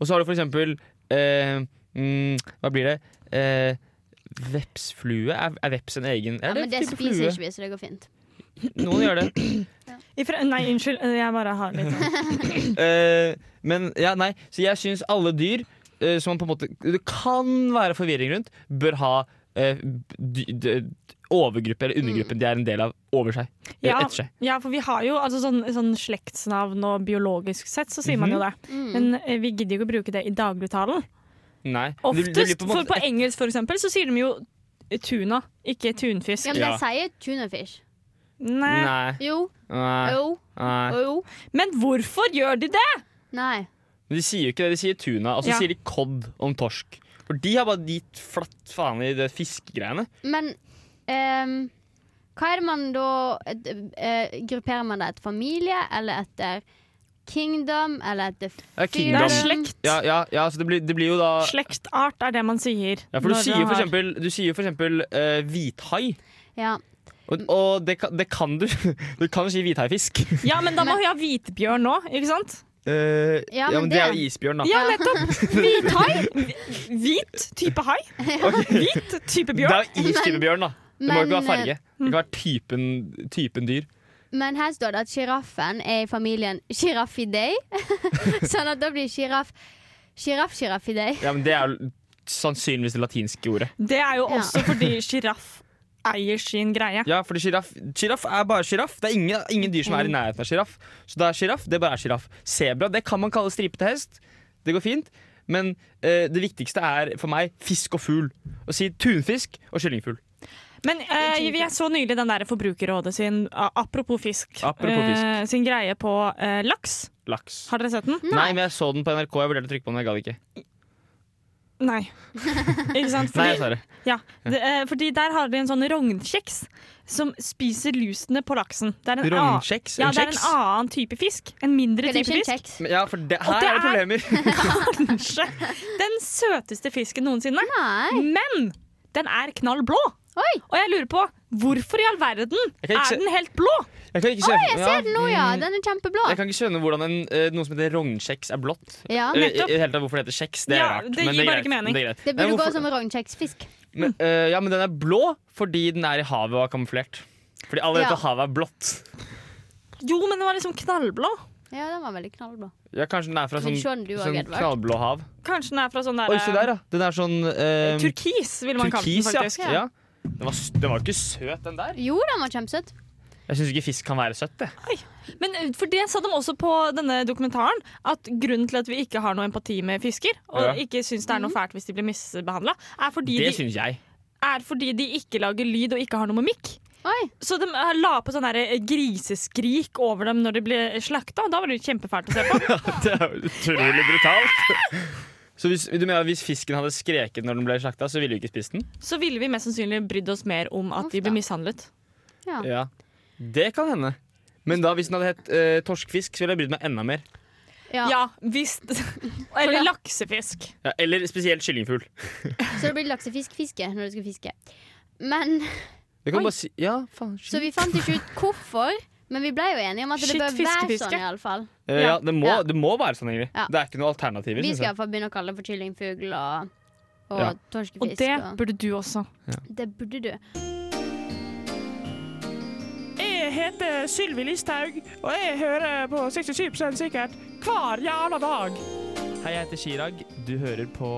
[SPEAKER 4] Og så har du for eksempel eh, mm, Hva blir det? Eh, vepsflue? Er, er veps en egen
[SPEAKER 2] ja
[SPEAKER 4] Er det
[SPEAKER 2] men det
[SPEAKER 4] type
[SPEAKER 2] spiser
[SPEAKER 4] flue?
[SPEAKER 2] ikke vi, så det går fint.
[SPEAKER 4] Noen gjør det.
[SPEAKER 1] I fre- nei, unnskyld. eh, Jeg bare har litt
[SPEAKER 4] Eh, men ja, nei, så jeg syns alle dyr eh, som man på en måte det kan være forvirring rundt, bør ha eh, dy, d- d- overgruppe eller undergruppe de er en del av, over seg. eller
[SPEAKER 1] Mm. Ja.
[SPEAKER 4] Etter seg.
[SPEAKER 1] Ja, for vi har jo altså, sånn, sånn slektsnavn og biologisk sett, så sier man
[SPEAKER 4] Mhm.
[SPEAKER 1] jo det.
[SPEAKER 2] Mm.
[SPEAKER 1] Men eh, vi gidder jo ikke å bruke det i dagligtalen.
[SPEAKER 4] Nei. det- det
[SPEAKER 1] Oftest,
[SPEAKER 4] blir på en måte
[SPEAKER 1] for på engelsk for eksempel, så sier de jo tuna, ikke tunfisk.
[SPEAKER 2] Ja, men de
[SPEAKER 4] Ja.
[SPEAKER 2] sier tunafish.
[SPEAKER 1] Nei.
[SPEAKER 4] Nei.
[SPEAKER 2] Jo,
[SPEAKER 4] Nei.
[SPEAKER 2] jo,
[SPEAKER 4] Nei.
[SPEAKER 2] jo.
[SPEAKER 1] Men hvorfor gjør de det?
[SPEAKER 2] Nei.
[SPEAKER 4] Men De sier jo ikke det, de sier tuna, og så
[SPEAKER 1] Ja.
[SPEAKER 4] sier de kodd om torsk. For de har bare gitt flatt faen i det fiskegreiene.
[SPEAKER 2] Men ehm, hva er det man da et, eh, Grupperer man det etter familie eller etter kingdom eller etter
[SPEAKER 1] Det er
[SPEAKER 4] Ja, kingdom.
[SPEAKER 1] slekt.
[SPEAKER 4] Ja, ja, ja, så det blir, det blir jo da
[SPEAKER 1] Slektart er det man sier.
[SPEAKER 4] ja, for du
[SPEAKER 1] når
[SPEAKER 4] sier jo
[SPEAKER 1] har-
[SPEAKER 4] for eksempel, du sier jo for eksempel eh, hvithai.
[SPEAKER 2] Ja.
[SPEAKER 4] Og, og det, kan, det kan du Du kan jo si hvithaifisk.
[SPEAKER 1] Ja, men da må vi ha hvitbjørn nå, ikke sant?
[SPEAKER 4] Eh,
[SPEAKER 2] Ja,
[SPEAKER 4] ja,
[SPEAKER 2] men
[SPEAKER 4] men det er
[SPEAKER 2] det-
[SPEAKER 4] jo isbjørn, da.
[SPEAKER 1] Ja, nettopp! Hvithai. Hvit type hai. Hvit type
[SPEAKER 4] Det
[SPEAKER 1] bjørn.
[SPEAKER 4] er jo istype bjørn, da. Det må jo
[SPEAKER 2] eh,
[SPEAKER 4] ikke være farge. Det kan være typen, typen dyr.
[SPEAKER 2] Men her står det at sjiraffen er i familien Giraffidae. sånn at da blir sjiraff Sjiraff-sjiraffidae.
[SPEAKER 4] Ja, men Det er jo sannsynligvis det latinske ordet.
[SPEAKER 1] Det er jo
[SPEAKER 2] Ja.
[SPEAKER 1] også fordi sjiraff eier sin greie.
[SPEAKER 4] Ja, fordi giraff, giraff er bare giraff. Det er ingen, ingen dyr som er i nærheten av giraff. Så da er giraff, det bare er giraff. Sebra, det kan man kalle stripete hest. Det går fint. Men eh, det viktigste er for meg fisk og fugl. Å si tunfisk og kyllingfugl.
[SPEAKER 1] Men eh, jeg så nylig den der Forbrukerrådet sin a- Apropos fisk.
[SPEAKER 4] Apropos fisk.
[SPEAKER 1] eh, sin greie på eh, laks.
[SPEAKER 4] Laks.
[SPEAKER 1] Har dere sett den?
[SPEAKER 4] Nei. men jeg så den på NRK. Jeg vurderte å trykke på den, men jeg gadd ikke.
[SPEAKER 1] Nei. Ikke sant?
[SPEAKER 4] Nei,
[SPEAKER 1] Fordi,
[SPEAKER 4] jeg sa det.
[SPEAKER 1] ja, det, eh, fordi der har de en sånn rognkjeks som spiser lusene på laksen. Det er en annen-
[SPEAKER 4] Rognkjeks?
[SPEAKER 1] Ja,
[SPEAKER 4] en
[SPEAKER 1] det er en
[SPEAKER 4] kjeks?
[SPEAKER 1] annen type fisk. En mindre
[SPEAKER 2] Det er
[SPEAKER 1] type
[SPEAKER 2] ikke
[SPEAKER 1] fisk.
[SPEAKER 2] en kjeks.
[SPEAKER 4] Men Ja, for det, her
[SPEAKER 1] det
[SPEAKER 4] er det problemer.
[SPEAKER 1] Kanskje den søteste fisken noensinne.
[SPEAKER 2] Nei.
[SPEAKER 1] Men den er knall blå.
[SPEAKER 2] Oi!
[SPEAKER 1] Og jeg lurer på hvorfor i all verden
[SPEAKER 4] Jeg kan ikke
[SPEAKER 1] er
[SPEAKER 4] se-
[SPEAKER 1] den helt blå?
[SPEAKER 4] Jeg kan ikke se,
[SPEAKER 2] Jeg ser den nå, ja. Den er kjempeblå.
[SPEAKER 4] Jeg kan ikke skjønne hvordan en, eh, noe som heter rognkjeks er blått.
[SPEAKER 2] Ja.
[SPEAKER 4] Eller,
[SPEAKER 1] nettopp.
[SPEAKER 4] i det hele tatt, hvorfor det heter kjeks, det er
[SPEAKER 1] Ja,
[SPEAKER 4] rart.
[SPEAKER 1] det
[SPEAKER 4] men
[SPEAKER 1] gir
[SPEAKER 4] er
[SPEAKER 1] bare
[SPEAKER 4] greit,
[SPEAKER 1] ikke mening.
[SPEAKER 4] det er greit.
[SPEAKER 2] Det
[SPEAKER 4] Nei,
[SPEAKER 2] burde gå
[SPEAKER 4] hvorfor-
[SPEAKER 2] som rognkjeksfisk.
[SPEAKER 4] men, eh, ja, men den er blå fordi den er i havet og er kamuflert. Fordi allerede
[SPEAKER 2] Ja.
[SPEAKER 4] havet er blått.
[SPEAKER 1] Jo, men den var liksom knallblå.
[SPEAKER 2] Ja, den var veldig knallblå.
[SPEAKER 4] Ja, kanskje den er fra
[SPEAKER 2] Vil
[SPEAKER 4] sånn,
[SPEAKER 2] se den du også,
[SPEAKER 4] sånn
[SPEAKER 2] Edvard.
[SPEAKER 4] knallblå hav.
[SPEAKER 1] Kanskje den er fra sånn der,
[SPEAKER 4] Oi, se der, ja. Den er sånn eh,
[SPEAKER 1] Turkis, vil man kalle den
[SPEAKER 4] turkis,
[SPEAKER 1] faktisk.
[SPEAKER 4] ja. ja. Den var, s- den var jo ikke søt, den der.
[SPEAKER 2] Jo, den var kjempesøt.
[SPEAKER 4] Jeg syns ikke fisk kan være søtt. jeg.
[SPEAKER 1] Men eh, for det sa de også på denne dokumentaren, at grunnen til at vi ikke har noe empati med fisker, og
[SPEAKER 4] Ja. Mhm.
[SPEAKER 1] ikke syns det er noe fælt hvis de blir misbehandla, er, fordi
[SPEAKER 4] Det
[SPEAKER 1] de-
[SPEAKER 4] syns jeg.
[SPEAKER 1] er fordi de ikke lager lyd og ikke har noe mimikk.
[SPEAKER 2] Oi.
[SPEAKER 1] Så de eh, la på sånn her, eh, griseskrik over dem når de ble slakta, og da var det jo kjempefælt å se på.
[SPEAKER 4] Det er jo utrolig brutalt. Så hvis, du mener at hvis fisken hadde skreket når den ble slakta, så ville du ikke spist den?
[SPEAKER 1] Så ville vi mest sannsynlig brydd oss mer om at de
[SPEAKER 2] Uff da.
[SPEAKER 1] ble mishandlet.
[SPEAKER 4] Ja, Det kan hende. Men da hvis den hadde hett eh, torskfisk, så ville jeg brydd meg enda mer.
[SPEAKER 2] Ja.
[SPEAKER 1] Ja, hvis Eller laksefisk.
[SPEAKER 4] Ja, eller spesielt kyllingfugl.
[SPEAKER 2] Så det blir laksefisk-fiske når du skal fiske. Men,
[SPEAKER 4] Det kan du bare si Ja, faen.
[SPEAKER 2] Så vi fant ikke ut hvorfor, men vi ble jo enige om at det
[SPEAKER 1] Shit,
[SPEAKER 2] bør være
[SPEAKER 1] fiskefiske.
[SPEAKER 2] sånn, iallfall.
[SPEAKER 4] Eh, ja, det, må,
[SPEAKER 2] Ja.
[SPEAKER 4] det må være sånn, egentlig.
[SPEAKER 2] Ja.
[SPEAKER 4] Det er ikke noe alternativer.
[SPEAKER 2] Vi
[SPEAKER 4] synes
[SPEAKER 2] skal
[SPEAKER 4] jeg.
[SPEAKER 2] iallfall begynne å kalle det for kyllingfugl og, og
[SPEAKER 4] Ja.
[SPEAKER 1] Og
[SPEAKER 2] torskefisk.
[SPEAKER 1] det
[SPEAKER 2] og-
[SPEAKER 1] burde du også.
[SPEAKER 2] det burde du.
[SPEAKER 5] Jeg heter Sylvi Listhaug, og jeg hører på 67 sikkert hver jævla dag.
[SPEAKER 4] Hei, jeg heter Chirag. Du hører på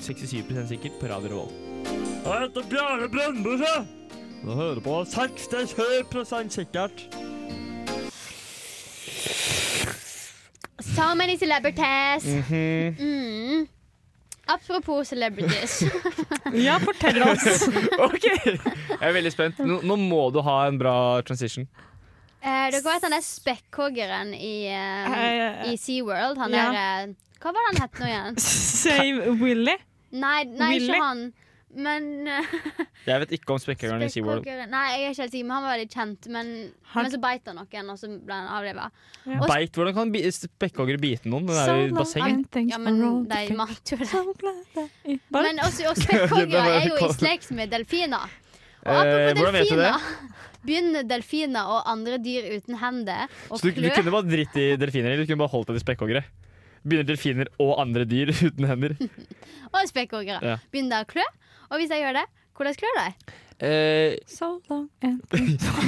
[SPEAKER 4] 67 sikkert på Radio Revolt.
[SPEAKER 8] Jeg heter Bjarne Brøndbøse. Du hører på 67 sikkert.
[SPEAKER 2] So many celebrities!
[SPEAKER 4] Mhm.
[SPEAKER 2] Mm. Apropos celebrities.
[SPEAKER 1] Ja, fortell oss.
[SPEAKER 4] OK! Jeg er veldig spent. Nå, nå må du ha en bra transition.
[SPEAKER 2] Eh, dere vet han der spekkhoggeren i, eh,
[SPEAKER 1] Eh, eh,
[SPEAKER 2] i SeaWorld? Han
[SPEAKER 1] ja.
[SPEAKER 2] er eh, Hva var det han het nå igjen?
[SPEAKER 1] Save Willy.
[SPEAKER 2] Nei, nei
[SPEAKER 1] Willy?
[SPEAKER 2] ikke han. Men eh,
[SPEAKER 4] Jeg vet ikke om spekkhoggeren i SeaWorld.
[SPEAKER 2] spekkhoggeren Nei, jeg er ikke helt sikker, men han var veldig kjent. Men,
[SPEAKER 1] Han-
[SPEAKER 2] men så beit han noen, og så ble han avliva. Og-
[SPEAKER 4] Beit, hvordan kan bi- spekkhoggere bite noen? Den er jo i
[SPEAKER 1] Sånn,
[SPEAKER 4] basseng.
[SPEAKER 2] Ja, men de mat jo det.
[SPEAKER 1] Men
[SPEAKER 2] Men også, og spekkhoggere
[SPEAKER 4] var jo
[SPEAKER 2] er jo i
[SPEAKER 4] kald.
[SPEAKER 2] slekt med delfiner. Og
[SPEAKER 4] Eh,
[SPEAKER 2] apropos
[SPEAKER 4] hvordan vet du det?
[SPEAKER 2] delfiner Begynner delfiner og andre dyr uten hender og
[SPEAKER 4] Så du, du
[SPEAKER 2] klør.
[SPEAKER 4] kunne bare dritt i delfiner, eller du kunne bare holdt deg til spekkhoggere. Begynner delfiner og andre dyr uten hender.
[SPEAKER 2] Og spekkhoggere.
[SPEAKER 4] Ja.
[SPEAKER 2] Begynner å klø. Og hvis jeg gjør det, hvordan klør det?
[SPEAKER 4] Eh,
[SPEAKER 1] So long and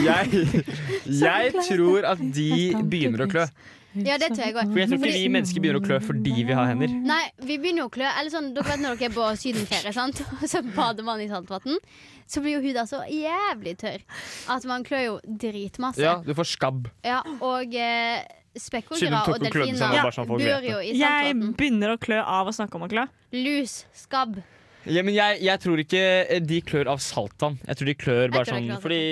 [SPEAKER 4] jeg, jeg tror at de begynner å klø.
[SPEAKER 2] Ja, det tror jeg også.
[SPEAKER 4] For jeg tror ikke vi mennesker begynner å klø fordi vi har hender.
[SPEAKER 2] Nei, vi begynner jo å klø. Eller sånn, dere vet når dere er på sydenferie, sant? og så bader man i saltvann, så blir jo huden så jævlig tørr at man klør jo dritmasse.
[SPEAKER 4] Ja, du får skabb.
[SPEAKER 2] Ja, og eh,
[SPEAKER 4] Siden
[SPEAKER 2] spekkhoggere
[SPEAKER 4] hun
[SPEAKER 2] og
[SPEAKER 4] tok og klødde seg,
[SPEAKER 2] delfiner
[SPEAKER 4] var det bare sånn folk vet
[SPEAKER 2] bor
[SPEAKER 4] det.
[SPEAKER 2] jo i
[SPEAKER 1] Jeg
[SPEAKER 2] saltvann.
[SPEAKER 1] begynner å klø av å snakke om å klø.
[SPEAKER 2] Lus, skabb.
[SPEAKER 4] Ja, men jeg, jeg tror ikke eh, de klør av saltvann. Jeg tror de klør bare
[SPEAKER 2] tror de
[SPEAKER 4] sånn
[SPEAKER 2] klør av
[SPEAKER 4] fordi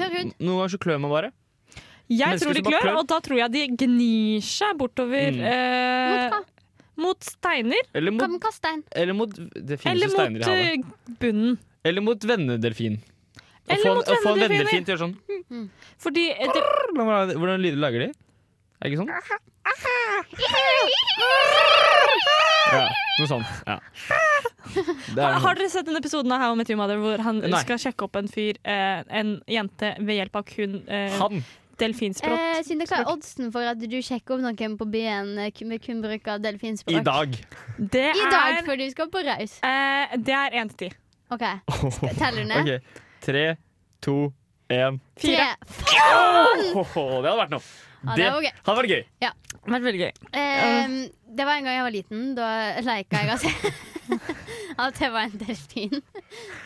[SPEAKER 2] Tørr hud.
[SPEAKER 4] Noen ganger så klør man bare.
[SPEAKER 1] Jeg
[SPEAKER 4] Mennesker
[SPEAKER 1] tror de
[SPEAKER 4] som bare
[SPEAKER 1] klør,
[SPEAKER 4] klør.
[SPEAKER 1] og da tror jeg de gnir seg bortover
[SPEAKER 4] Mm.
[SPEAKER 1] eh,
[SPEAKER 2] Mot hva?
[SPEAKER 1] mot steiner
[SPEAKER 4] Eller
[SPEAKER 2] Kom,
[SPEAKER 4] mot,
[SPEAKER 2] kast stein.
[SPEAKER 4] eller mot Det finnes jo
[SPEAKER 1] eller
[SPEAKER 4] steiner
[SPEAKER 1] mot
[SPEAKER 4] i havet.
[SPEAKER 1] eh, bunnen.
[SPEAKER 4] Eller mot vennedelfin. Å
[SPEAKER 1] Eller
[SPEAKER 4] få en-
[SPEAKER 1] mot
[SPEAKER 4] å få en
[SPEAKER 1] vennedelfiner.
[SPEAKER 4] vennedelfin til å gjøre sånn
[SPEAKER 1] Fordi eh, det,
[SPEAKER 4] Hvordan, hvordan lyder lager de? Er det ikke sånn? Ja, noe sånt. Ja. Det
[SPEAKER 1] har,
[SPEAKER 4] er
[SPEAKER 1] har
[SPEAKER 4] noe.
[SPEAKER 1] dere sett den episoden av How I Met Your Mother hvor han
[SPEAKER 4] Nei.
[SPEAKER 1] skal sjekke opp en fyr, eh, en jente, ved hjelp av kun eh,
[SPEAKER 4] Han!
[SPEAKER 1] Delfinsprått.
[SPEAKER 2] Eh, Sinde, hva er oddsen for at du sjekker opp noen på byen eh, kun- med kun bruk av delfinspråk?
[SPEAKER 4] I dag.
[SPEAKER 1] Det
[SPEAKER 2] I dag,
[SPEAKER 1] er
[SPEAKER 2] før du skal på raus.
[SPEAKER 1] eh, Det er én til ti.
[SPEAKER 2] OK, teller du ned?
[SPEAKER 4] Oh, Ok, Tre, to, én.
[SPEAKER 2] Tre.
[SPEAKER 1] Fire.
[SPEAKER 4] Åhåhå, det hadde vært noe.
[SPEAKER 2] Ja,
[SPEAKER 4] Det
[SPEAKER 2] det var gøy.
[SPEAKER 4] hadde vært gøy.
[SPEAKER 1] Det var veldig gøy.
[SPEAKER 2] Ehm, det var en gang jeg var liten. Da leika jeg altså. at jeg var en delfin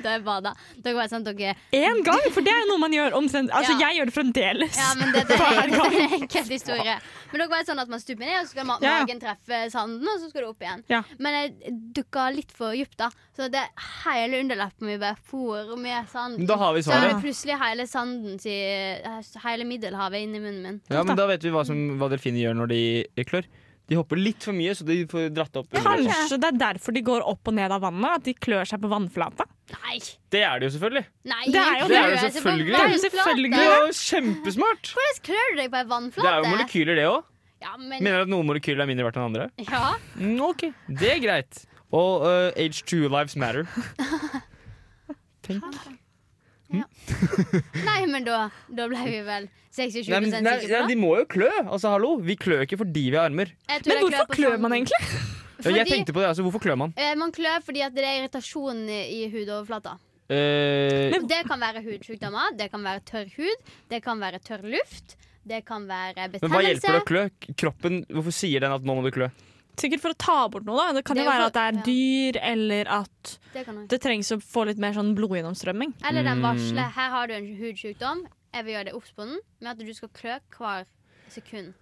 [SPEAKER 2] da jeg bada. Dere var sånn, dere
[SPEAKER 1] Én gang, for det er jo noe man gjør omtrent. Altså,
[SPEAKER 2] Ja.
[SPEAKER 1] jeg gjør det fremdeles.
[SPEAKER 2] Ja, men dette er en enkel historie. Men dere vet sånn at man stuper ned, og så skal ma
[SPEAKER 1] Ja, ja.
[SPEAKER 2] magen treffe sanden, og så skal du opp igjen.
[SPEAKER 1] Ja.
[SPEAKER 2] Men jeg dukka litt for dypt, da. Så det hele underleppen min bare for med sand.
[SPEAKER 4] Men Da har vi
[SPEAKER 2] Så hadde
[SPEAKER 4] svaret.
[SPEAKER 2] plutselig hele sanden si, altså, Hele Middelhavet inni munnen min.
[SPEAKER 4] Ja, men Da vet vi hva, som, hva delfiner gjør når de klør. De hopper litt for mye, så de får dratt opp. underlivet.
[SPEAKER 1] Kanskje det er derfor de går opp og ned av vannet? At de klør seg på vannflata?
[SPEAKER 2] Nei!
[SPEAKER 4] Det er det jo selvfølgelig.
[SPEAKER 2] Nei
[SPEAKER 1] Det er jo
[SPEAKER 2] ingen
[SPEAKER 1] det.
[SPEAKER 2] klør
[SPEAKER 4] Det er jo
[SPEAKER 2] seg på en
[SPEAKER 4] selvfølgelig.
[SPEAKER 1] Det er jo
[SPEAKER 2] vannflate.
[SPEAKER 4] Det
[SPEAKER 1] selvfølgelig
[SPEAKER 4] er jo kjempesmart!
[SPEAKER 2] Hvordan klør du deg på en
[SPEAKER 4] Det er jo
[SPEAKER 2] vannflate?
[SPEAKER 4] molekyler, det òg.
[SPEAKER 2] Ja, men
[SPEAKER 4] Mener du at noen molekyler er mindre verdt enn andre?
[SPEAKER 2] ja.
[SPEAKER 4] Mm, ok, Det er greit. Og eh, H2 Lives Matter.
[SPEAKER 2] Nei, men da, da ble vi vel 26
[SPEAKER 4] Nei, men,
[SPEAKER 2] sikre
[SPEAKER 4] nei,
[SPEAKER 2] på
[SPEAKER 4] nei,
[SPEAKER 2] det.
[SPEAKER 4] De må jo klø! Altså, hallo, Vi klør ikke fordi vi har armer.
[SPEAKER 2] Jeg tror
[SPEAKER 1] Men
[SPEAKER 2] jeg
[SPEAKER 1] hvorfor
[SPEAKER 2] på
[SPEAKER 1] klør
[SPEAKER 2] sanden.
[SPEAKER 1] man egentlig?
[SPEAKER 4] Ja, jeg
[SPEAKER 2] Fordi-
[SPEAKER 4] tenkte på det, altså, Hvorfor klør man?
[SPEAKER 2] Eh, Man klør fordi at det er irritasjon i i hudoverflata.
[SPEAKER 4] Eh,
[SPEAKER 1] Men-
[SPEAKER 2] Det kan være hudsykdommer, det kan være tørr hud, det kan være tørr luft, det kan være
[SPEAKER 4] men hva
[SPEAKER 2] betennelse.
[SPEAKER 4] hjelper det å klø? Kroppen, Hvorfor sier den at nå må du klø?
[SPEAKER 1] Sikkert for å ta bort noe. da Det kan
[SPEAKER 2] Det
[SPEAKER 1] jo
[SPEAKER 2] er jo
[SPEAKER 1] være at det er
[SPEAKER 2] for-
[SPEAKER 1] dyr, eller at
[SPEAKER 2] Det kan også-
[SPEAKER 1] det trengs å få litt mer sånn blodgjennomstrømming.
[SPEAKER 2] Eller den
[SPEAKER 4] Mm.
[SPEAKER 2] varsler her har du en hudsykdom, jeg vil gjøre deg obs på den, med at du skal klø hver sekund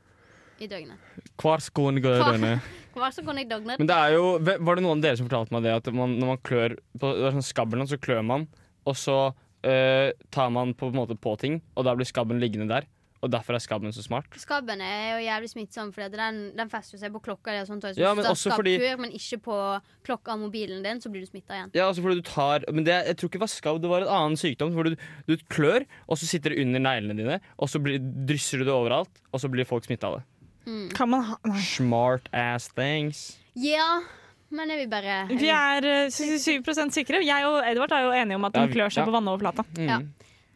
[SPEAKER 2] i døgnet.
[SPEAKER 4] Hver skån går
[SPEAKER 2] Hva?
[SPEAKER 4] denne.
[SPEAKER 2] Hver sekund i døgnet.
[SPEAKER 4] Men det er jo, ve- var det noen av dere som fortalte meg det at man, når man klør på det er sånn skabben, så klør man, og så eh, tar man på, en måte på ting, og da blir skabben liggende der. Og derfor er skabben så smart.
[SPEAKER 2] Skabben er jo jævlig smittsom, for den, den fester jo seg på klokka. di Og sånt, og så
[SPEAKER 4] Ja,
[SPEAKER 2] hvis
[SPEAKER 4] men
[SPEAKER 2] du har
[SPEAKER 4] også fordi-
[SPEAKER 2] skabtur, men ikke på klokka av mobilen din, så blir du smitta igjen.
[SPEAKER 4] Ja, altså fordi du tar, men det, jeg tror ikke det var skabb, det var en annen sykdom. Hvor du, du klør, og så sitter det under neglene dine, og så blir, drysser du det overalt, og så blir folk smitta av det.
[SPEAKER 2] Mm.
[SPEAKER 1] Kan man ha Nei.
[SPEAKER 4] Smart ass things.
[SPEAKER 2] Ja, men jeg vil bare
[SPEAKER 1] Vi er eh, 67 sikre. Jeg og Edvard er jo enige om at
[SPEAKER 4] Ja,
[SPEAKER 1] den
[SPEAKER 4] vi-
[SPEAKER 1] klør seg
[SPEAKER 4] ja.
[SPEAKER 1] på vannoverflata.
[SPEAKER 4] Mm.
[SPEAKER 2] Ja.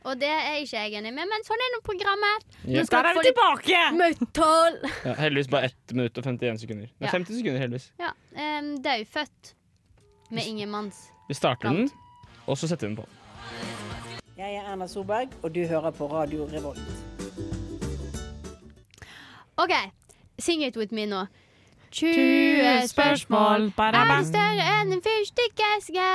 [SPEAKER 2] Og det er ikke jeg enig med, men sånn er nå programmet.
[SPEAKER 4] Ja.
[SPEAKER 2] Nå
[SPEAKER 1] Der
[SPEAKER 2] skal dere
[SPEAKER 1] er
[SPEAKER 2] få
[SPEAKER 1] vi
[SPEAKER 2] litt
[SPEAKER 1] tilbake!
[SPEAKER 2] metal.
[SPEAKER 4] Ja, heldigvis bare 1 minutt og 51 sekunder. Nei,
[SPEAKER 2] Ja.
[SPEAKER 4] 50 sekunder, heldigvis.
[SPEAKER 2] Ja, um, det er jo født med ingen manns.
[SPEAKER 4] Vi starter den, og så setter vi den på.
[SPEAKER 9] Jeg er Erna Solberg, og du hører på Radio Revolt.
[SPEAKER 2] OK, sing it with me nå. 20 spørsmål. Er det større enn en fyrstikkeske?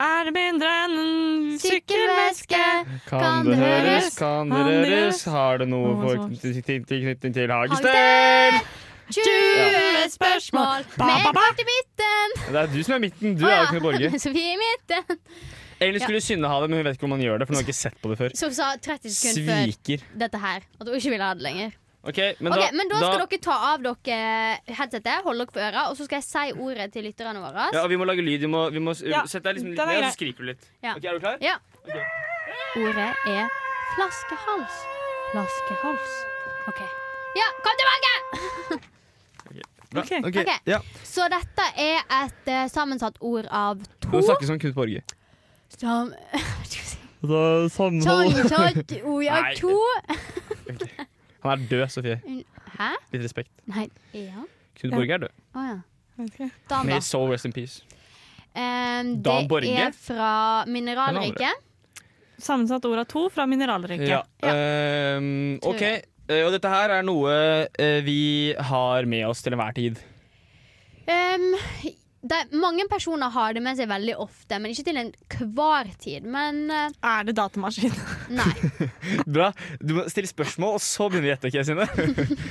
[SPEAKER 1] Er det mindre enn en
[SPEAKER 2] Sykkelveske?
[SPEAKER 1] sykkelveske?
[SPEAKER 4] Kan det høres, kan det
[SPEAKER 1] Kan det
[SPEAKER 4] røres, har det noe
[SPEAKER 1] Noe
[SPEAKER 4] for
[SPEAKER 1] som-
[SPEAKER 4] tilknytning til
[SPEAKER 2] Hagestell!
[SPEAKER 4] Hagestell?
[SPEAKER 2] 20 spørsmål med
[SPEAKER 1] Ba, ba,
[SPEAKER 2] en kvart i midten.
[SPEAKER 4] Det er du som er midten, du
[SPEAKER 2] Å
[SPEAKER 4] er
[SPEAKER 2] ja,
[SPEAKER 4] jo ikke noe borger.
[SPEAKER 2] Sofie i midten.
[SPEAKER 4] Ellen skulle synne ha det, men hun vet ikke om man gjør det, for hun har ikke sett på det før.
[SPEAKER 2] Som sa 30 sekunder før
[SPEAKER 4] Sviker.
[SPEAKER 2] dette her. At hun ikke ville ha det lenger.
[SPEAKER 4] Ok, men
[SPEAKER 2] Ok,
[SPEAKER 4] da,
[SPEAKER 2] men da, skal dere ta av dere headsetet, holde dere på øra, og så skal jeg si ordet til lytterne våre.
[SPEAKER 4] Ja, vi må lage lyd, vi må, vi må
[SPEAKER 1] Ja,
[SPEAKER 4] sette deg liksom litt
[SPEAKER 1] den er
[SPEAKER 4] ned,
[SPEAKER 1] grei.
[SPEAKER 4] så skriker du litt.
[SPEAKER 2] Ja.
[SPEAKER 4] Ok, er du klar?
[SPEAKER 2] Ja. Ordet er flaskehals. Flaskehals. OK. Ja, kom tilbake!
[SPEAKER 4] Bra.
[SPEAKER 1] Ok.
[SPEAKER 2] Ok.
[SPEAKER 4] Ja.
[SPEAKER 2] Så dette er et eh, sammensatt ord av to
[SPEAKER 4] Nå snakker vi som Knut Borge.
[SPEAKER 2] Som Skal vi si
[SPEAKER 8] Da samhold
[SPEAKER 2] Sammensatt ord av
[SPEAKER 4] Nei.
[SPEAKER 2] to
[SPEAKER 4] Han er død, Sofie.
[SPEAKER 2] Hæ?
[SPEAKER 4] Litt respekt.
[SPEAKER 2] Nei, er han?
[SPEAKER 4] Knut
[SPEAKER 1] Ja.
[SPEAKER 4] Borge er død.
[SPEAKER 2] Å ja.
[SPEAKER 1] Vet ikke.
[SPEAKER 2] Dan,
[SPEAKER 4] May
[SPEAKER 2] da.
[SPEAKER 4] his soul rest in peace.
[SPEAKER 2] Ehm,
[SPEAKER 4] Dan Borge?
[SPEAKER 2] det er fra mineralriket.
[SPEAKER 1] Sammensatt ord av to fra mineralriket.
[SPEAKER 4] Ja. ehm,
[SPEAKER 2] Tror
[SPEAKER 4] ok,
[SPEAKER 2] jeg.
[SPEAKER 4] Eh, og dette her er noe eh, vi har med oss til enhver tid.
[SPEAKER 2] Ehm, det, mange personer har det med seg veldig ofte, men ikke til enhver tid. Men eh,
[SPEAKER 1] Er det datamaskin?
[SPEAKER 2] nei.
[SPEAKER 4] Bra. Du må stille spørsmål, og så begynner vi å gjette. ok, Synne?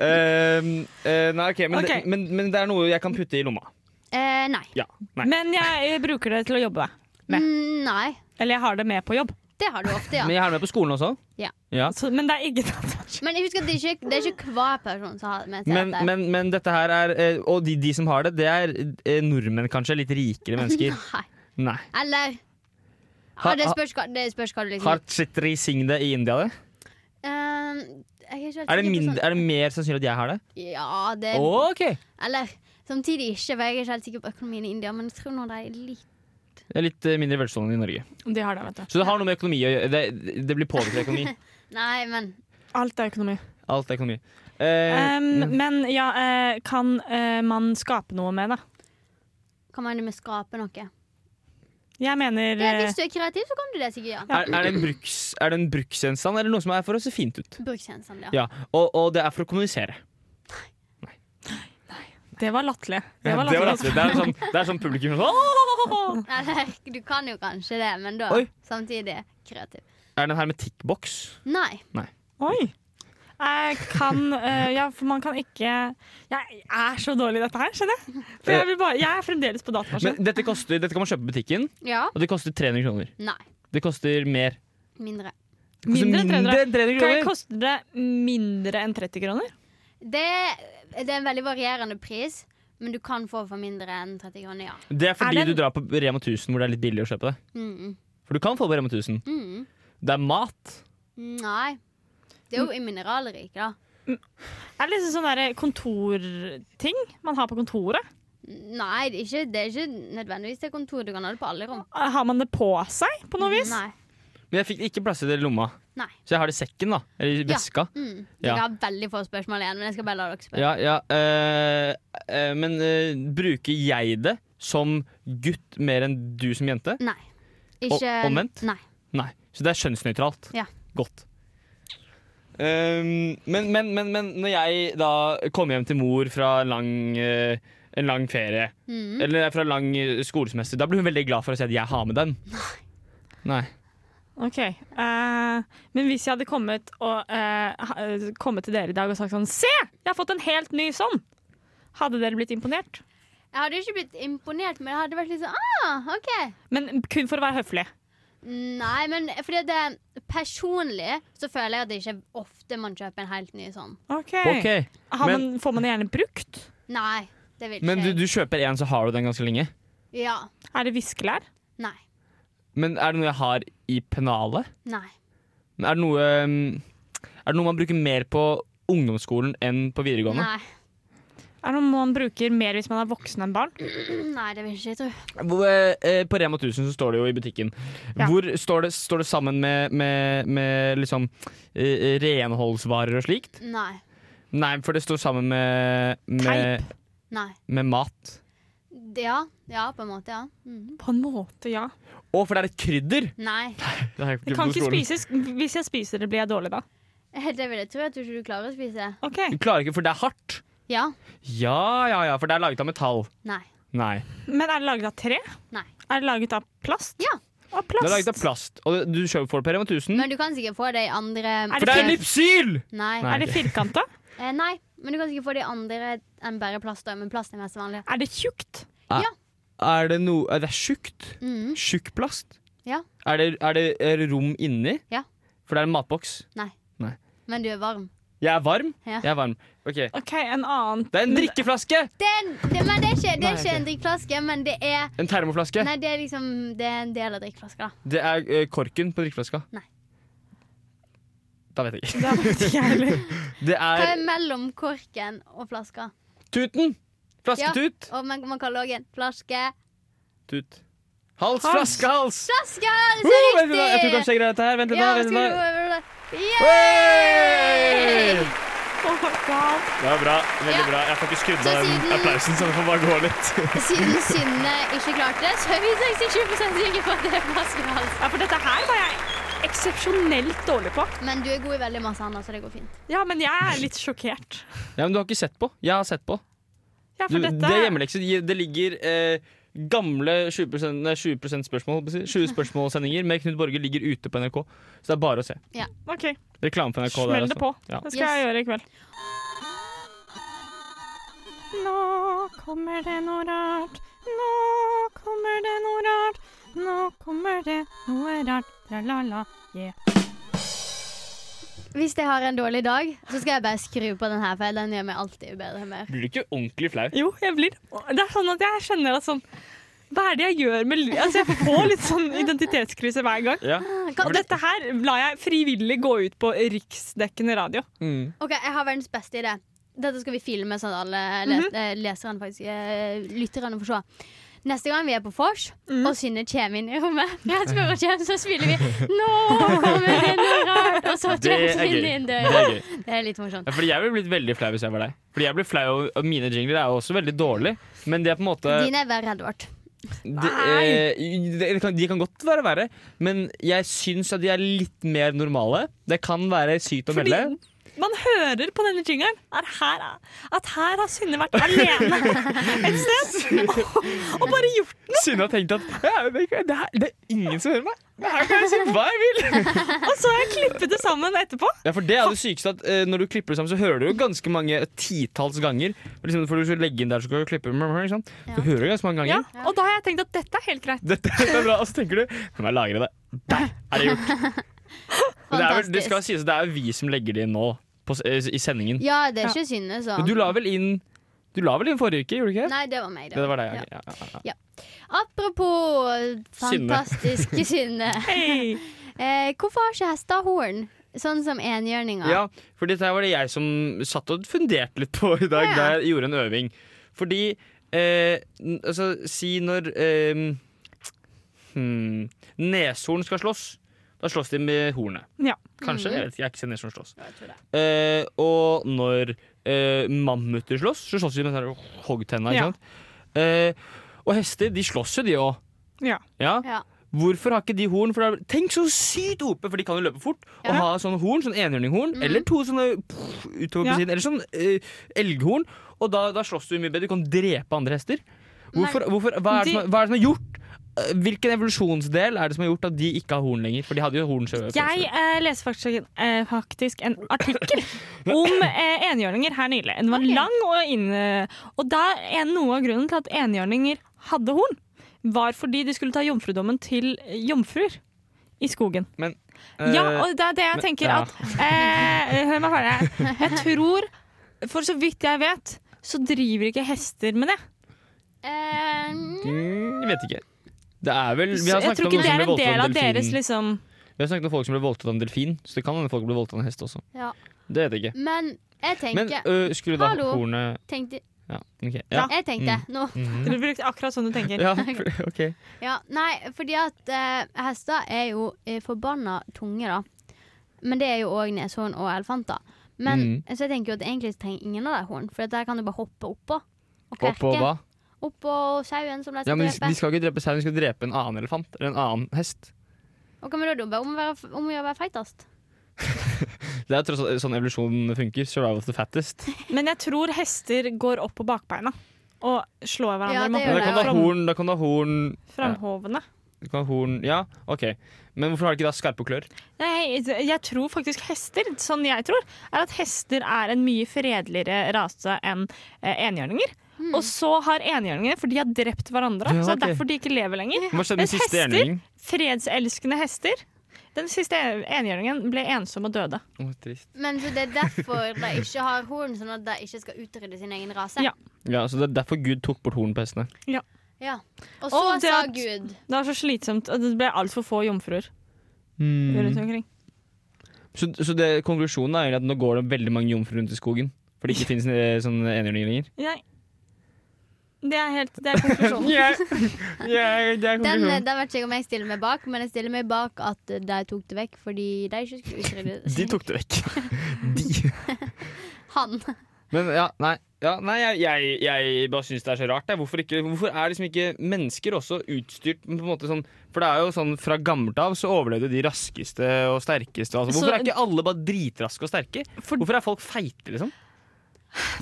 [SPEAKER 4] Ehm, eh, nei, ok, men,
[SPEAKER 1] Ok.
[SPEAKER 4] Det, men, men det er noe jeg kan putte i lomma.
[SPEAKER 2] Eh, nei.
[SPEAKER 4] Ja. Nei.
[SPEAKER 1] Men jeg eh, bruker det til å jobbe. Nei.
[SPEAKER 2] Mm, nei.
[SPEAKER 1] Eller jeg har det med på jobb.
[SPEAKER 2] Det har du ofte, ja.
[SPEAKER 4] Men jeg har det med på skolen også.
[SPEAKER 2] Ja.
[SPEAKER 1] Så, men det er ikke datamaskin.
[SPEAKER 2] Men husk at det er ikke, det er ikke hver person som har med seg
[SPEAKER 4] Men,
[SPEAKER 2] dette.
[SPEAKER 4] men, men dette her er eh, Og de, de som har det, det er eh, nordmenn, kanskje. Litt rikere mennesker.
[SPEAKER 2] Nei.
[SPEAKER 4] Nei.
[SPEAKER 2] Eller
[SPEAKER 4] Ha-
[SPEAKER 2] ja, det,
[SPEAKER 4] ha-
[SPEAKER 2] spørs hva, det spørs hva du liksom
[SPEAKER 4] Har Chitri Singh det i India? det?
[SPEAKER 2] Ehm, jeg er, ikke helt
[SPEAKER 4] Er det,
[SPEAKER 2] sikker på
[SPEAKER 4] mindre,
[SPEAKER 2] sånn-
[SPEAKER 4] er det mer sannsynlig at jeg har det?
[SPEAKER 2] Ja, det
[SPEAKER 4] Ok!
[SPEAKER 2] Eller samtidig ikke, for jeg er ikke helt sikker på økonomien i India. Men jeg tror nå det er litt
[SPEAKER 4] Det er litt eh, mindre velstående i Norge.
[SPEAKER 1] De har det, vet du.
[SPEAKER 4] Så det har noe med økonomi å gjøre. Det, det blir påvirket av økonomi.
[SPEAKER 2] Nei, men
[SPEAKER 1] Alt er økonomi.
[SPEAKER 4] Alt er økonomi. Eh,
[SPEAKER 1] Em, men ja, eh, kan eh, man skape noe med det?
[SPEAKER 2] Hva mener du med skape noe?
[SPEAKER 1] Jeg mener
[SPEAKER 2] Det,
[SPEAKER 1] eh,
[SPEAKER 2] hvis du er kreativ, så kan du det sikkert.
[SPEAKER 4] er, er, det en bruks, er det en bruksgjenstand eller noe som er for å se fint ut?
[SPEAKER 2] Ja. Bruksgjenstand, ja.
[SPEAKER 4] Ja, og, og det er for å kommunisere.
[SPEAKER 1] Det var latterlig.
[SPEAKER 4] Ja,
[SPEAKER 1] Det var
[SPEAKER 4] det, var
[SPEAKER 1] latterlig.
[SPEAKER 4] latterlig. det, er sånn, det er sånn publikum sånn, «Åh!»
[SPEAKER 2] Eller, du kan jo kanskje det, men da
[SPEAKER 4] Oi.
[SPEAKER 2] samtidig kreativ.
[SPEAKER 4] Er det en hermetikkboks?
[SPEAKER 2] Nei.
[SPEAKER 1] Oi. Jeg kan eh, Ja, for man kan ikke Jeg er så dårlig i dette her, skjønner jeg. For jeg, vil bare, jeg er fremdeles på
[SPEAKER 4] Men
[SPEAKER 1] datamaskin.
[SPEAKER 4] dette, koster, dette kan man kjøpe på butikken,
[SPEAKER 2] Ja.
[SPEAKER 4] og det koster 300 kroner.
[SPEAKER 2] Nei.
[SPEAKER 4] Det koster mer.
[SPEAKER 2] Mindre.
[SPEAKER 4] Det koster
[SPEAKER 1] Mindre enn 300.
[SPEAKER 4] altså, enn 300
[SPEAKER 1] Kan
[SPEAKER 4] kroner.
[SPEAKER 1] koster det mindre enn 30 kroner?
[SPEAKER 2] Det, det er en veldig varierende pris, men du kan få for mindre enn 30 kroner, ja.
[SPEAKER 4] Det er fordi
[SPEAKER 1] Er det-
[SPEAKER 4] du drar på Rema 1000 hvor det er litt billig å kjøpe det.
[SPEAKER 2] Mm,
[SPEAKER 4] For du kan få på Rema 1000.
[SPEAKER 2] mm.
[SPEAKER 4] Det er mat.
[SPEAKER 2] Nei. Det er jo i mineralriket, da.
[SPEAKER 1] Er det liksom sånn der kontorting man har på kontoret?
[SPEAKER 2] Nei, det er ikke, det er ikke nødvendigvis det kontoret. Du kan ha det på alle rom.
[SPEAKER 1] Har man det på seg på noe vis?
[SPEAKER 2] Nei.
[SPEAKER 4] Men jeg fikk det ikke plass i det i lomma,
[SPEAKER 2] Nei.
[SPEAKER 4] så jeg har det i sekken. da Eller i
[SPEAKER 2] Ja.
[SPEAKER 4] veska.
[SPEAKER 2] Mm.
[SPEAKER 4] Ja.
[SPEAKER 2] Jeg har veldig få spørsmål igjen, men jeg skal bare la dere spørre.
[SPEAKER 4] Ja, ja, eh, eh, Men eh, bruker jeg det som gutt mer enn du som jente?
[SPEAKER 2] Nei. Ikke
[SPEAKER 4] Og- omvendt?
[SPEAKER 2] Nei.
[SPEAKER 4] Nei. Så det er kjønnsnøytralt.
[SPEAKER 2] Ja.
[SPEAKER 4] Godt. Ehm, men, men, men, men når jeg da kommer hjem til mor fra en lang, eh, en lang ferie,
[SPEAKER 2] Mm.
[SPEAKER 4] eller fra en lang eh, skolesemester, da blir hun veldig glad for å si at jeg har med den. Nei.
[SPEAKER 1] Ok, eh, Men hvis jeg hadde kommet, og, eh, ha- kommet til dere i dag og sagt sånn Se, jeg har fått en helt ny sånn! Hadde dere blitt imponert?
[SPEAKER 2] Jeg hadde jo ikke blitt imponert, men jeg hadde vært litt sånn ah, OK.
[SPEAKER 1] Men kun for å være høflig.
[SPEAKER 2] Nei, men fordi at det personlig så føler jeg at det ikke er ofte man kjøper en helt ny sånn.
[SPEAKER 1] Ok,
[SPEAKER 4] Ok,
[SPEAKER 1] Har man, Får man det gjerne brukt?
[SPEAKER 2] Nei, det vil ikke
[SPEAKER 4] Men du,
[SPEAKER 2] jeg.
[SPEAKER 4] du kjøper en, så har du den ganske lenge.
[SPEAKER 2] Ja.
[SPEAKER 1] Er det viskelær?
[SPEAKER 2] Nei.
[SPEAKER 4] Men er det noe jeg har i pennalet?
[SPEAKER 2] Nei.
[SPEAKER 4] Er det noe, um, er det noe man bruker mer på ungdomsskolen enn på videregående?
[SPEAKER 2] Nei.
[SPEAKER 1] Er det noe man bruker mer hvis man er voksen enn barn?
[SPEAKER 2] Nei, det vil ikke jeg tro.
[SPEAKER 4] Hvor, eh, på Rema 1000 så står det jo i butikken.
[SPEAKER 1] Ja.
[SPEAKER 4] Hvor står det, står det sammen med, med, med liksom eh, renholdsvarer og slikt?
[SPEAKER 2] Nei.
[SPEAKER 4] Nei, for det står sammen med med,
[SPEAKER 2] Nei.
[SPEAKER 4] med mat.
[SPEAKER 2] Det- Ja. Ja, på en måte, ja. Mhm.
[SPEAKER 1] På en måte, ja.
[SPEAKER 4] Å, for det er et krydder!
[SPEAKER 2] Nei.
[SPEAKER 4] Det har jeg
[SPEAKER 1] Det
[SPEAKER 4] glemt på
[SPEAKER 1] kan ikke
[SPEAKER 4] skolen.
[SPEAKER 1] spises. Hvis jeg spiser det, blir jeg dårlig da.
[SPEAKER 2] Det vil jeg tro at du ikke klarer å spise.
[SPEAKER 1] Ok,
[SPEAKER 4] Du klarer ikke, for det er hardt.
[SPEAKER 2] Ja.
[SPEAKER 4] Ja, ja, ja, for det er laget av metall.
[SPEAKER 2] Nei.
[SPEAKER 4] Nei.
[SPEAKER 1] Men er det laget av tre?
[SPEAKER 2] Nei.
[SPEAKER 1] Er det laget av plast?
[SPEAKER 2] Ja.
[SPEAKER 1] Av
[SPEAKER 4] Det er laget av
[SPEAKER 1] plast.
[SPEAKER 4] plast. Og du kjøper for det på Rema 1000.
[SPEAKER 2] Men du kan sikkert få Mm. det i andre
[SPEAKER 1] Er
[SPEAKER 4] For det er
[SPEAKER 1] fint?
[SPEAKER 4] lipsyl!
[SPEAKER 2] Nei.
[SPEAKER 4] Nei.
[SPEAKER 1] Er det firkanta?
[SPEAKER 2] Eh, nei. Men du kan sikkert få det i andre enn bare plast, da, men plast er mest vanlig.
[SPEAKER 1] Er det tjukt?
[SPEAKER 4] Er det noe Er det tjukt?
[SPEAKER 2] Mhm.
[SPEAKER 4] Tjukk plast?
[SPEAKER 2] Ja.
[SPEAKER 4] Er det, er, det, er det rom inni?
[SPEAKER 2] Ja.
[SPEAKER 4] For det er en matboks.
[SPEAKER 2] Men du er varm.
[SPEAKER 4] Jeg er varm.
[SPEAKER 2] Ja.
[SPEAKER 4] Jeg er varm. Ok. Det
[SPEAKER 1] Ok, en annen.
[SPEAKER 4] er en drikkeflaske!
[SPEAKER 2] Det er, en- det, men det er ikke, det er
[SPEAKER 4] Nei,
[SPEAKER 2] ikke en drikkeflaske, men det er
[SPEAKER 4] En termoflaske.
[SPEAKER 2] Nei, det er liksom Det er en del av drikkeflaska, da.
[SPEAKER 4] Det er eh, korken på drikkeflaska.
[SPEAKER 2] Nei.
[SPEAKER 4] Da vet jeg ikke.
[SPEAKER 1] Det vet ikke jeg heller.
[SPEAKER 4] Det
[SPEAKER 2] Hva
[SPEAKER 4] er
[SPEAKER 2] er mellom korken og flaska?
[SPEAKER 4] tuten! Flasketut.
[SPEAKER 2] Og man, man kaller òg en flaske
[SPEAKER 4] Tut. Hals, flaskehals!
[SPEAKER 2] Flaske!
[SPEAKER 4] Uh,
[SPEAKER 2] Det er
[SPEAKER 4] vent litt da, jeg tror
[SPEAKER 2] riktig!
[SPEAKER 4] kanskje jeg greier dette her. Vent litt,
[SPEAKER 2] Ja,
[SPEAKER 4] da. Vent
[SPEAKER 2] skulle
[SPEAKER 4] litt
[SPEAKER 2] du
[SPEAKER 4] da. Hey!
[SPEAKER 2] Yay!
[SPEAKER 1] Oh my God.
[SPEAKER 8] Det var bra. Veldig
[SPEAKER 2] Ja.
[SPEAKER 8] bra. Jeg får ikke skrudd av
[SPEAKER 2] Så
[SPEAKER 8] den
[SPEAKER 2] siden-
[SPEAKER 8] applausen, så det får bare gå litt.
[SPEAKER 2] Siden Synne ikke klarte det, så er vi 67 sikre på at det er flaskehals.
[SPEAKER 1] Ja, for dette her var jeg eksepsjonelt dårlig på.
[SPEAKER 2] Men du er god i veldig masse annet, så det går fint.
[SPEAKER 1] Ja, men jeg er litt sjokkert.
[SPEAKER 4] Ja, men du har ikke sett på. Jeg har sett på.
[SPEAKER 1] Ja, for
[SPEAKER 4] Du,
[SPEAKER 1] dette
[SPEAKER 4] det er hjemmelekse. Det ligger eh, gamle 20, nei, 20 spørsmål holdt på å si. 20 spørsmålsendinger med Knut Borge ligger ute på NRK. Så det er bare å se.
[SPEAKER 1] Ok,
[SPEAKER 4] Reklame for NRK. der,
[SPEAKER 1] smell
[SPEAKER 4] altså.
[SPEAKER 1] det på.
[SPEAKER 4] Ja.
[SPEAKER 1] Det skal jeg gjøre i kveld. Nå kommer det noe rart. Nå kommer det noe rart. Nå kommer det noe rart. Tralala.
[SPEAKER 2] Hvis jeg har en dårlig dag, så skal jeg bare skru på den her, for den gjør meg alltid i bedre humør.
[SPEAKER 4] Blir du ikke ordentlig flau?
[SPEAKER 1] Jo, jeg blir Det er sånn at jeg kjenner at sånn Hva er det jeg gjør med livet? Altså, jeg får litt sånn identitetskrise hver gang.
[SPEAKER 4] Ja.
[SPEAKER 2] Ah.
[SPEAKER 1] Og dette her lar jeg frivillig gå ut på riksdekkende radio.
[SPEAKER 4] Mm.
[SPEAKER 2] OK, jeg har verdens beste Mhm. idé. Dette skal vi filme, sånn at alle les eh, leserne faktisk eh, lytterne får se. Neste gang vi er på vors, og Synne kommer inn i rommet, jeg spør og kommer, så spiller vi 'Nå kommer det noe rart', og så
[SPEAKER 4] Det
[SPEAKER 2] kommer
[SPEAKER 4] er gøy.
[SPEAKER 2] Synne inn
[SPEAKER 4] Det
[SPEAKER 2] døra.
[SPEAKER 4] er gøy.
[SPEAKER 2] Det er litt morsomt.
[SPEAKER 4] Ja, Fordi jeg ville blitt veldig flau hvis jeg var deg. Fordi jeg blir flau, og Mine jingler er jo også veldig dårlige, men de er på en måte de,
[SPEAKER 2] Dine er verre, Edvard.
[SPEAKER 4] eh, de, kan, de kan godt være verre, men jeg syns at de er litt mer normale. Det kan være sykt å
[SPEAKER 1] Fordi
[SPEAKER 4] melde.
[SPEAKER 1] man hører på denne jingeren er her, at her har Synne vært alene et sted og, og bare gjort
[SPEAKER 4] Synne har tenkt at ja, det, det, er, det er ingen som hører meg. Men Her kan jeg si hva jeg vil.
[SPEAKER 1] Og så har jeg klippet det sammen etterpå.
[SPEAKER 4] Ja, for det er jo det sykeste at eh, Når du klipper det sammen, så hører du jo ganske mange titalls ganger. Og Liksom, for du skal legge inn der, så skal du klippe ikke sant?
[SPEAKER 2] Ja.
[SPEAKER 4] Du hører det ganske mange ganger.
[SPEAKER 1] Ja, og da har jeg tenkt at dette er helt greit.
[SPEAKER 4] Dette er bra, og så tenker du Nå må jeg lagre det. Der er det gjort. Men det, er vel, det skal
[SPEAKER 2] Fantastisk.
[SPEAKER 4] sies at det er jo vi som legger det inn nå, på, s- i sendingen.
[SPEAKER 2] Ja, det er ikke Synne, så.
[SPEAKER 4] Men du la vel inn Du la vel inn forrige uke, gjorde du ikke?
[SPEAKER 2] Nei, det var meg.
[SPEAKER 4] Det var deg,
[SPEAKER 2] Ja.
[SPEAKER 4] ja. Ja, ja, ja.
[SPEAKER 2] Apropos
[SPEAKER 4] Synne.
[SPEAKER 2] fantastiske Synne.
[SPEAKER 1] Hei.
[SPEAKER 2] Eh, hvorfor har ikke hester horn, sånn som enhjørninger?
[SPEAKER 4] Ja, for dette her var det jeg som satt og funderte litt på i dag,
[SPEAKER 2] Ja.
[SPEAKER 4] da jeg gjorde en øving. Fordi eh, n- Altså, si når eh, hmm, neshorn skal slåss, da slåss de med hornet.
[SPEAKER 1] Ja.
[SPEAKER 4] Kanskje? Jeg vet ikke, jeg har ikke sett neshorn slåss.
[SPEAKER 2] Mhm. Jeg tror det.
[SPEAKER 4] Eh, og når eh, mammuter slåss, så slåss de med sånne hoggtenna.
[SPEAKER 1] Ja.
[SPEAKER 4] Ikke sant? Eh, og hester, de slåss jo, de òg.
[SPEAKER 1] Ja.
[SPEAKER 2] Ja.
[SPEAKER 4] Hvorfor har ikke de horn? For det er, tenk så sykt ope, for de kan jo løpe fort.
[SPEAKER 2] Ja.
[SPEAKER 4] Og ha sånn horn, sånn enhjørninghorn, eller to sånne pff,
[SPEAKER 1] Mhm.
[SPEAKER 4] utover
[SPEAKER 1] Ja.
[SPEAKER 4] på siden, eller sånn eh, elghorn. Og da, da slåss du mye bedre. Du kan drepe andre hester. Hvorfor, hvorfor, hva, er det som, er- hva er det som er gjort? Eh, Hvilken evolusjonsdel er det som har gjort at de ikke har horn lenger? For de hadde jo horn selv.
[SPEAKER 1] Jeg eh, leste faktisk, eh, faktisk en artikkel om eh, enhjørninger her nylig. Den var
[SPEAKER 2] Ok.
[SPEAKER 1] lang og inn... eh, Og da er noe av grunnen til at enhjørninger hadde horn, var fordi de skulle ta jomfrudommen til eh, jomfruer i skogen.
[SPEAKER 4] Eh,
[SPEAKER 1] Ja, og det er det jeg
[SPEAKER 4] men-
[SPEAKER 1] tenker
[SPEAKER 4] ja.
[SPEAKER 1] at eh, Hør meg ferdig. Jeg tror, for så vidt jeg vet, så driver ikke hester med det.
[SPEAKER 2] Eh,
[SPEAKER 4] Mm, jeg vet ikke. Det er vel, vi
[SPEAKER 1] Så
[SPEAKER 4] har
[SPEAKER 1] jeg
[SPEAKER 4] snakket
[SPEAKER 1] tror
[SPEAKER 4] om
[SPEAKER 1] ikke det
[SPEAKER 4] noen som
[SPEAKER 1] er
[SPEAKER 4] ble
[SPEAKER 1] en
[SPEAKER 4] voldtatt
[SPEAKER 1] del
[SPEAKER 4] av
[SPEAKER 1] av deres
[SPEAKER 4] delfin.
[SPEAKER 1] liksom
[SPEAKER 4] Vi har snakket om folk som ble voldtatt av en delfin, så det kan hende folk ble voldtatt av en hest også.
[SPEAKER 2] ja.
[SPEAKER 4] Det vet jeg ikke.
[SPEAKER 2] Men jeg
[SPEAKER 4] Men
[SPEAKER 2] tenker,
[SPEAKER 4] øh, skru da
[SPEAKER 2] Hallo.
[SPEAKER 4] hornet
[SPEAKER 2] tenkte,
[SPEAKER 4] Ja. ok. Ja. Mm.
[SPEAKER 2] jeg tenkte nå
[SPEAKER 1] Dere brukte akkurat sånn du tenker.
[SPEAKER 4] Mhm. Ja, for- OK.
[SPEAKER 2] Ja, nei, fordi at eh, hester er jo eh, forbanna tunge, da. Men det er jo òg neshorn og elefanter. Men,
[SPEAKER 4] Mm.
[SPEAKER 2] Så jeg tenker jo at egentlig trenger ingen av de horn, for at der kan du bare hoppe oppå. Og
[SPEAKER 4] Og på
[SPEAKER 2] kverke.
[SPEAKER 4] hva?
[SPEAKER 2] Oppå sauen som de
[SPEAKER 4] Ja,
[SPEAKER 2] skal
[SPEAKER 4] men de,
[SPEAKER 2] drepe.
[SPEAKER 4] de skal ikke drepe sauen, de skal drepe en annen elefant eller en annen hest.
[SPEAKER 2] Og kan vi da jobbe om å være, om å gjøre å være feitest?
[SPEAKER 4] Det er tross alt sånn evolusjonen funker. Survival of the fattest.
[SPEAKER 1] Men jeg tror hester går opp på bakbeina og slår
[SPEAKER 2] Ja,
[SPEAKER 1] hverandre
[SPEAKER 2] det
[SPEAKER 1] med
[SPEAKER 2] gjør
[SPEAKER 4] Men da kan du
[SPEAKER 1] hodet.
[SPEAKER 2] det,
[SPEAKER 4] ha
[SPEAKER 1] Fram,
[SPEAKER 4] horn, da kan du ha horn,
[SPEAKER 1] framhovene.
[SPEAKER 4] du kan ha horn Ja, OK. Men hvorfor har de ikke da skarpe klør?
[SPEAKER 1] Nei, jeg tror faktisk hester, sånn jeg tror, er at hester er en mye fredeligere rase enn eh, enhjørninger.
[SPEAKER 2] Hmm.
[SPEAKER 1] Og så har enhjørningene, for de har drept hverandre,
[SPEAKER 4] Ja,
[SPEAKER 1] så det er
[SPEAKER 4] ok.
[SPEAKER 1] derfor de ikke lever lenger.
[SPEAKER 4] Hva skjedde
[SPEAKER 1] Men
[SPEAKER 4] med siste
[SPEAKER 1] hester-
[SPEAKER 4] enhjørning?
[SPEAKER 1] Fredselskende hester. Den siste enhjørningen ble ensom og døde.
[SPEAKER 4] Å, trist.
[SPEAKER 2] Men så det er derfor de ikke har horn, sånn at de ikke skal utrydde sin egen rase.
[SPEAKER 1] Ja.
[SPEAKER 4] Ja, så det er derfor Gud tok bort horn på hestene.
[SPEAKER 2] Ja. Og så
[SPEAKER 1] Og det
[SPEAKER 2] sa
[SPEAKER 1] at-
[SPEAKER 2] Gud
[SPEAKER 1] Det var så slitsomt, og det ble altfor få jomfruer
[SPEAKER 4] Mm.
[SPEAKER 1] rundt omkring.
[SPEAKER 4] Så, så det, konklusjonen er egentlig at nå går det veldig mange jomfruer rundt i skogen? For det ikke finnes eh, sånne enhjørninger lenger?
[SPEAKER 1] Nei. Det er, helt, det er konklusjonen.
[SPEAKER 4] Mm.
[SPEAKER 2] Den,
[SPEAKER 4] Mm-hmm.
[SPEAKER 2] eh, den vet ikke jeg om jeg stiller meg bak, men jeg stiller meg bak at eh, de tok det vekk fordi de ikke skulle utrydde
[SPEAKER 4] De tok det vekk. De.
[SPEAKER 2] han.
[SPEAKER 4] Men ja, nei. Ja, nei, jeg, jeg, jeg bare syns det er så rart. Jeg. Hvorfor, ikke, hvorfor er liksom ikke mennesker også utstyrt på en måte sånn For det er jo sånn fra gammelt av så overlevde de raskeste og sterkeste. Altså. Hvorfor
[SPEAKER 1] Så-
[SPEAKER 4] er ikke alle bare dritraske og sterke?
[SPEAKER 1] For-
[SPEAKER 4] Hvorfor er folk feite, liksom?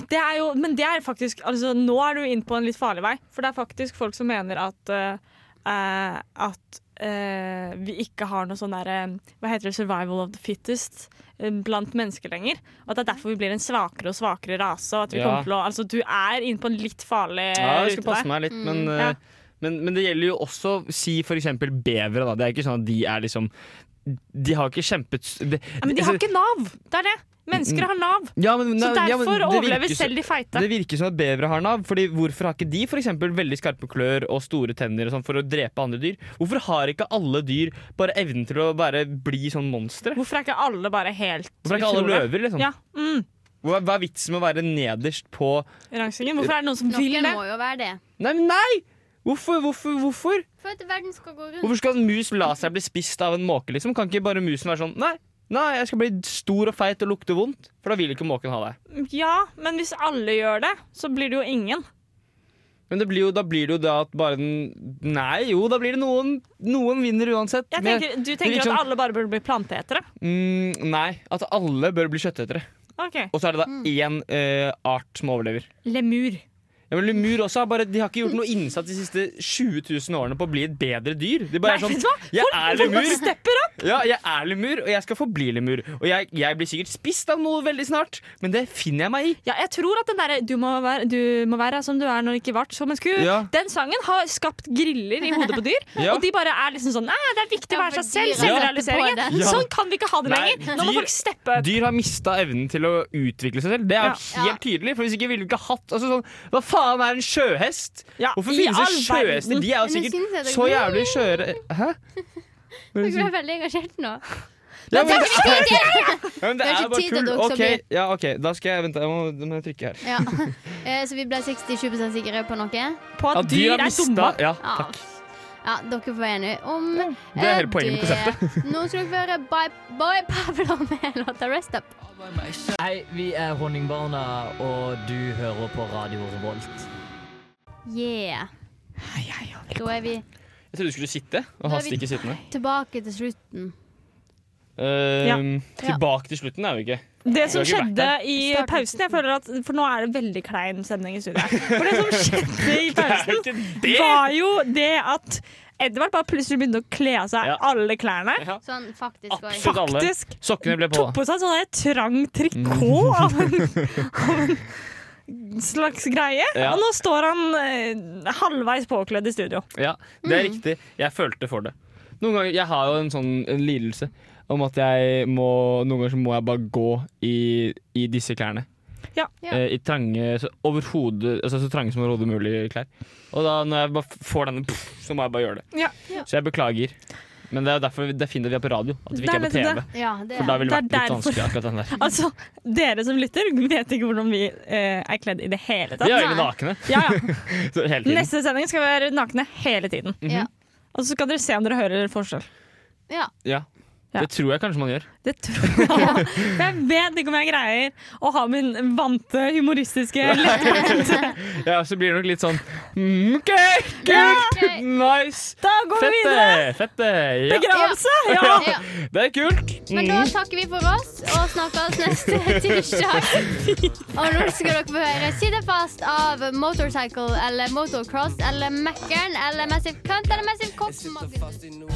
[SPEAKER 1] Det er jo, men det er faktisk altså, Nå er du inne på en litt farlig vei, for det er faktisk folk som mener at eh, eh, At eh, vi ikke har noe sånn derre Hva heter det? Survival of the fittest eh, blant mennesker lenger. Og at det er derfor vi blir en svakere og svakere rase. Og at vi
[SPEAKER 4] Ja.
[SPEAKER 1] kommer til å, altså, du er inne på en litt farlig
[SPEAKER 4] Ja, jeg
[SPEAKER 1] rute
[SPEAKER 4] skal
[SPEAKER 1] Eh, der.
[SPEAKER 4] passe
[SPEAKER 1] Mm,
[SPEAKER 4] meg litt, men,
[SPEAKER 1] ja.
[SPEAKER 4] eh, men, men det gjelder jo også si for eksempel bevere, da. Det er ikke sånn at de er liksom De har ikke kjempet s- det-
[SPEAKER 1] Ja, men de har ikke Nav! Det er det. Mennesker har Nav.
[SPEAKER 4] Ja,
[SPEAKER 1] Så
[SPEAKER 4] men- nei, Altså- ja,
[SPEAKER 1] derfor
[SPEAKER 4] men det virker
[SPEAKER 1] overlever
[SPEAKER 4] så-
[SPEAKER 1] selv de feite.
[SPEAKER 4] Det virker som at bevere har nav. Fordi Hvorfor har ikke de for eksempel, veldig skarpe klør og store tenner og sånn for å drepe andre dyr? Hvorfor har ikke alle dyr bare evnen til å bare bli sånn monstre?
[SPEAKER 1] Hvorfor er ikke alle bare helt
[SPEAKER 4] Hvorfor er ikke alle
[SPEAKER 1] utrolige?
[SPEAKER 4] løver? liksom?
[SPEAKER 1] Ja, mm,
[SPEAKER 4] Hva, hva er vitsen med å være nederst på
[SPEAKER 1] Rangstigen. Hvorfor er det noen som vil
[SPEAKER 2] Noen
[SPEAKER 1] det?
[SPEAKER 2] må jo være det.
[SPEAKER 4] Nei, men nei! Hvorfor? Hvorfor? Hvorfor
[SPEAKER 2] For at verden skal gå rundt.
[SPEAKER 4] Hvorfor skal en mus la seg bli spist av en måke? liksom? Kan ikke bare musen være sånn Nei, nei, jeg skal bli stor og feit og lukte vondt. For da vil ikke måken ha deg.
[SPEAKER 1] Ja, men hvis alle gjør det, så blir det jo ingen.
[SPEAKER 4] Men det blir jo, da blir det jo da at bare den Nei, jo, da blir det noen Noen vinner uansett.
[SPEAKER 1] Jeg
[SPEAKER 4] Men-
[SPEAKER 1] tenker, du
[SPEAKER 4] det
[SPEAKER 1] tenker
[SPEAKER 4] virker som-
[SPEAKER 1] at alle bare burde bli planteetere?
[SPEAKER 4] mm, nei, at alle bør bli kjøttetere.
[SPEAKER 1] OK.
[SPEAKER 4] Og så er det da
[SPEAKER 1] Mm.
[SPEAKER 4] én eh, art som overlever.
[SPEAKER 1] Lemur.
[SPEAKER 4] Ja, men Lemur også har bare, de har ikke gjort noe innsats de siste 20 000 årene på å bli et bedre dyr. De bare
[SPEAKER 1] Nei,
[SPEAKER 4] er
[SPEAKER 1] vet du
[SPEAKER 4] sånn
[SPEAKER 1] hva?
[SPEAKER 4] Jeg er lemur.
[SPEAKER 1] Folk stepper opp!
[SPEAKER 4] Ja, jeg er lemur, og jeg skal forbli lemur. Og jeg, jeg blir sikkert spist av noe veldig snart, men det finner jeg meg i.
[SPEAKER 1] Ja, jeg tror at den derre du, må være- 'Du må være som du er når du ikke vart som en ku',
[SPEAKER 4] Ja.
[SPEAKER 1] den sangen har skapt griller i hodet på dyr.
[SPEAKER 4] Ja.
[SPEAKER 1] Og de bare er liksom sånn 'Nei, det er viktig å
[SPEAKER 2] Ja,
[SPEAKER 1] være seg
[SPEAKER 2] for
[SPEAKER 1] selv'.
[SPEAKER 2] dyr har
[SPEAKER 1] Selvrealiseringen.
[SPEAKER 2] sett på
[SPEAKER 4] den. Ja.
[SPEAKER 1] Sånn kan vi ikke ha det
[SPEAKER 4] Nei,
[SPEAKER 1] lenger. Nå må
[SPEAKER 4] dyr-
[SPEAKER 1] folk steppe opp.
[SPEAKER 4] Dyr har mista evnen til å utvikle seg selv. Det er
[SPEAKER 1] Ja.
[SPEAKER 4] helt tydelig. For hvis ikke ville vi ikke hatt altså sånn, Hva faen er en sjøhest?
[SPEAKER 1] Ja,
[SPEAKER 4] Hvorfor
[SPEAKER 1] i
[SPEAKER 4] finnes det
[SPEAKER 1] all
[SPEAKER 4] sjøhester?
[SPEAKER 1] verden.
[SPEAKER 4] De er jo
[SPEAKER 2] Men jeg synes det
[SPEAKER 4] sikkert
[SPEAKER 2] er-
[SPEAKER 4] så jævlig skjøre Hæ? Hva er det
[SPEAKER 2] Jeg
[SPEAKER 4] du sier?
[SPEAKER 2] ble veldig engasjert nå.
[SPEAKER 4] Ja, men det er, ja,
[SPEAKER 2] Det er
[SPEAKER 4] men det er
[SPEAKER 2] ikke
[SPEAKER 4] bare
[SPEAKER 2] tid til at
[SPEAKER 4] tull.
[SPEAKER 2] dere skal
[SPEAKER 4] OK, ja, ok, da skal jeg vente. Jeg må, da må jeg trykke her.
[SPEAKER 2] Ja. Eh, Så vi ble 67 sikre på noe.
[SPEAKER 1] På at
[SPEAKER 4] Ja,
[SPEAKER 1] dyr er
[SPEAKER 4] mistet-
[SPEAKER 1] dumme.
[SPEAKER 4] Ja,
[SPEAKER 2] Ja.
[SPEAKER 4] takk.
[SPEAKER 2] Ja, dere får enige om
[SPEAKER 4] det er hele
[SPEAKER 2] eh,
[SPEAKER 4] poenget med
[SPEAKER 2] det. Nå skal dere høre Bye Bye Pablo med låta Rest Up.
[SPEAKER 10] Hei, vi er Honningbarna, og du hører på Radio Revolt.
[SPEAKER 2] Yeah. Da er vi
[SPEAKER 4] Jeg trodde du skulle sitte, og
[SPEAKER 2] Da er
[SPEAKER 4] hast
[SPEAKER 2] vi-
[SPEAKER 4] ikke sittende.
[SPEAKER 2] tilbake til slutten.
[SPEAKER 4] Ehm, Tilbake til slutten er vi ikke.
[SPEAKER 1] Det som
[SPEAKER 4] Du har ikke
[SPEAKER 1] skjedde
[SPEAKER 4] vært
[SPEAKER 1] i
[SPEAKER 2] Starten.
[SPEAKER 1] pausen jeg føler at, For nå er det veldig klein stemning i studio. her. For det som skjedde i
[SPEAKER 4] Det er jo
[SPEAKER 1] pausen,
[SPEAKER 4] ikke det!
[SPEAKER 1] var jo det at Edvard bare plutselig begynte å kle av seg
[SPEAKER 4] Ja.
[SPEAKER 1] alle klærne.
[SPEAKER 2] Sånn faktisk også.
[SPEAKER 4] Absolutt. alle.
[SPEAKER 1] Faktisk
[SPEAKER 4] Sokkene ble på.
[SPEAKER 1] tok på seg sånn der trang trikot av en, av en slags greie.
[SPEAKER 4] Ja.
[SPEAKER 1] Og nå står han eh, halvveis påkledd i studio.
[SPEAKER 4] Ja, det er riktig. Jeg følte for det. Noen ganger, Jeg har jo en sånn en lidelse om at jeg må Noen ganger så må jeg bare gå i, i disse klærne.
[SPEAKER 1] Ja.
[SPEAKER 2] Ja.
[SPEAKER 4] Eh, I trange så, overhodet, altså, så trange som overhodet mulig klær. Og da når jeg bare f- får denne, pff, så må jeg bare gjøre det.
[SPEAKER 1] Ja.
[SPEAKER 2] Ja.
[SPEAKER 4] Så jeg beklager. Men det er jo derfor vi- det er fint at vi er på radio, at vi ikke
[SPEAKER 1] Det er
[SPEAKER 4] er på
[SPEAKER 1] nettopp
[SPEAKER 4] TV.
[SPEAKER 2] Ja, det
[SPEAKER 4] For da ville
[SPEAKER 1] Det
[SPEAKER 4] det vært
[SPEAKER 1] er
[SPEAKER 4] litt
[SPEAKER 1] derfor.
[SPEAKER 4] vanskelig akkurat den der.
[SPEAKER 1] Altså, dere som lytter, vet ikke hvordan vi eh, er kledd i det hele
[SPEAKER 4] Vi
[SPEAKER 1] tatt.
[SPEAKER 4] er egentlig nakne
[SPEAKER 1] Ja, ja.
[SPEAKER 4] så hele tiden.
[SPEAKER 1] Neste sending skal vi være nakne hele tiden.
[SPEAKER 2] Ja.
[SPEAKER 1] Og så skal dere se om dere hører forskjell.
[SPEAKER 2] ja.
[SPEAKER 4] Ja.
[SPEAKER 1] Ja.
[SPEAKER 4] Det tror jeg kanskje man gjør.
[SPEAKER 1] Det tror jeg. For jeg vet ikke om jeg greier å ha min vante humoristiske lettvinte.
[SPEAKER 4] Ja, så blir det nok litt sånn mm, OK, kult!
[SPEAKER 2] Ja.
[SPEAKER 4] Nice!
[SPEAKER 1] Da går vi
[SPEAKER 4] Fette!
[SPEAKER 1] videre!
[SPEAKER 4] Fette! eh. Ja.
[SPEAKER 1] Begravelse! Ja.
[SPEAKER 2] Ja.
[SPEAKER 4] Det er kult!
[SPEAKER 2] Men da takker vi for oss og snakkes neste tirsdag. Og nå skal dere få høre Sitte fast av Motorcycle eller Motocross eller Mækkern eller Massive Cunt eller Massive Cock.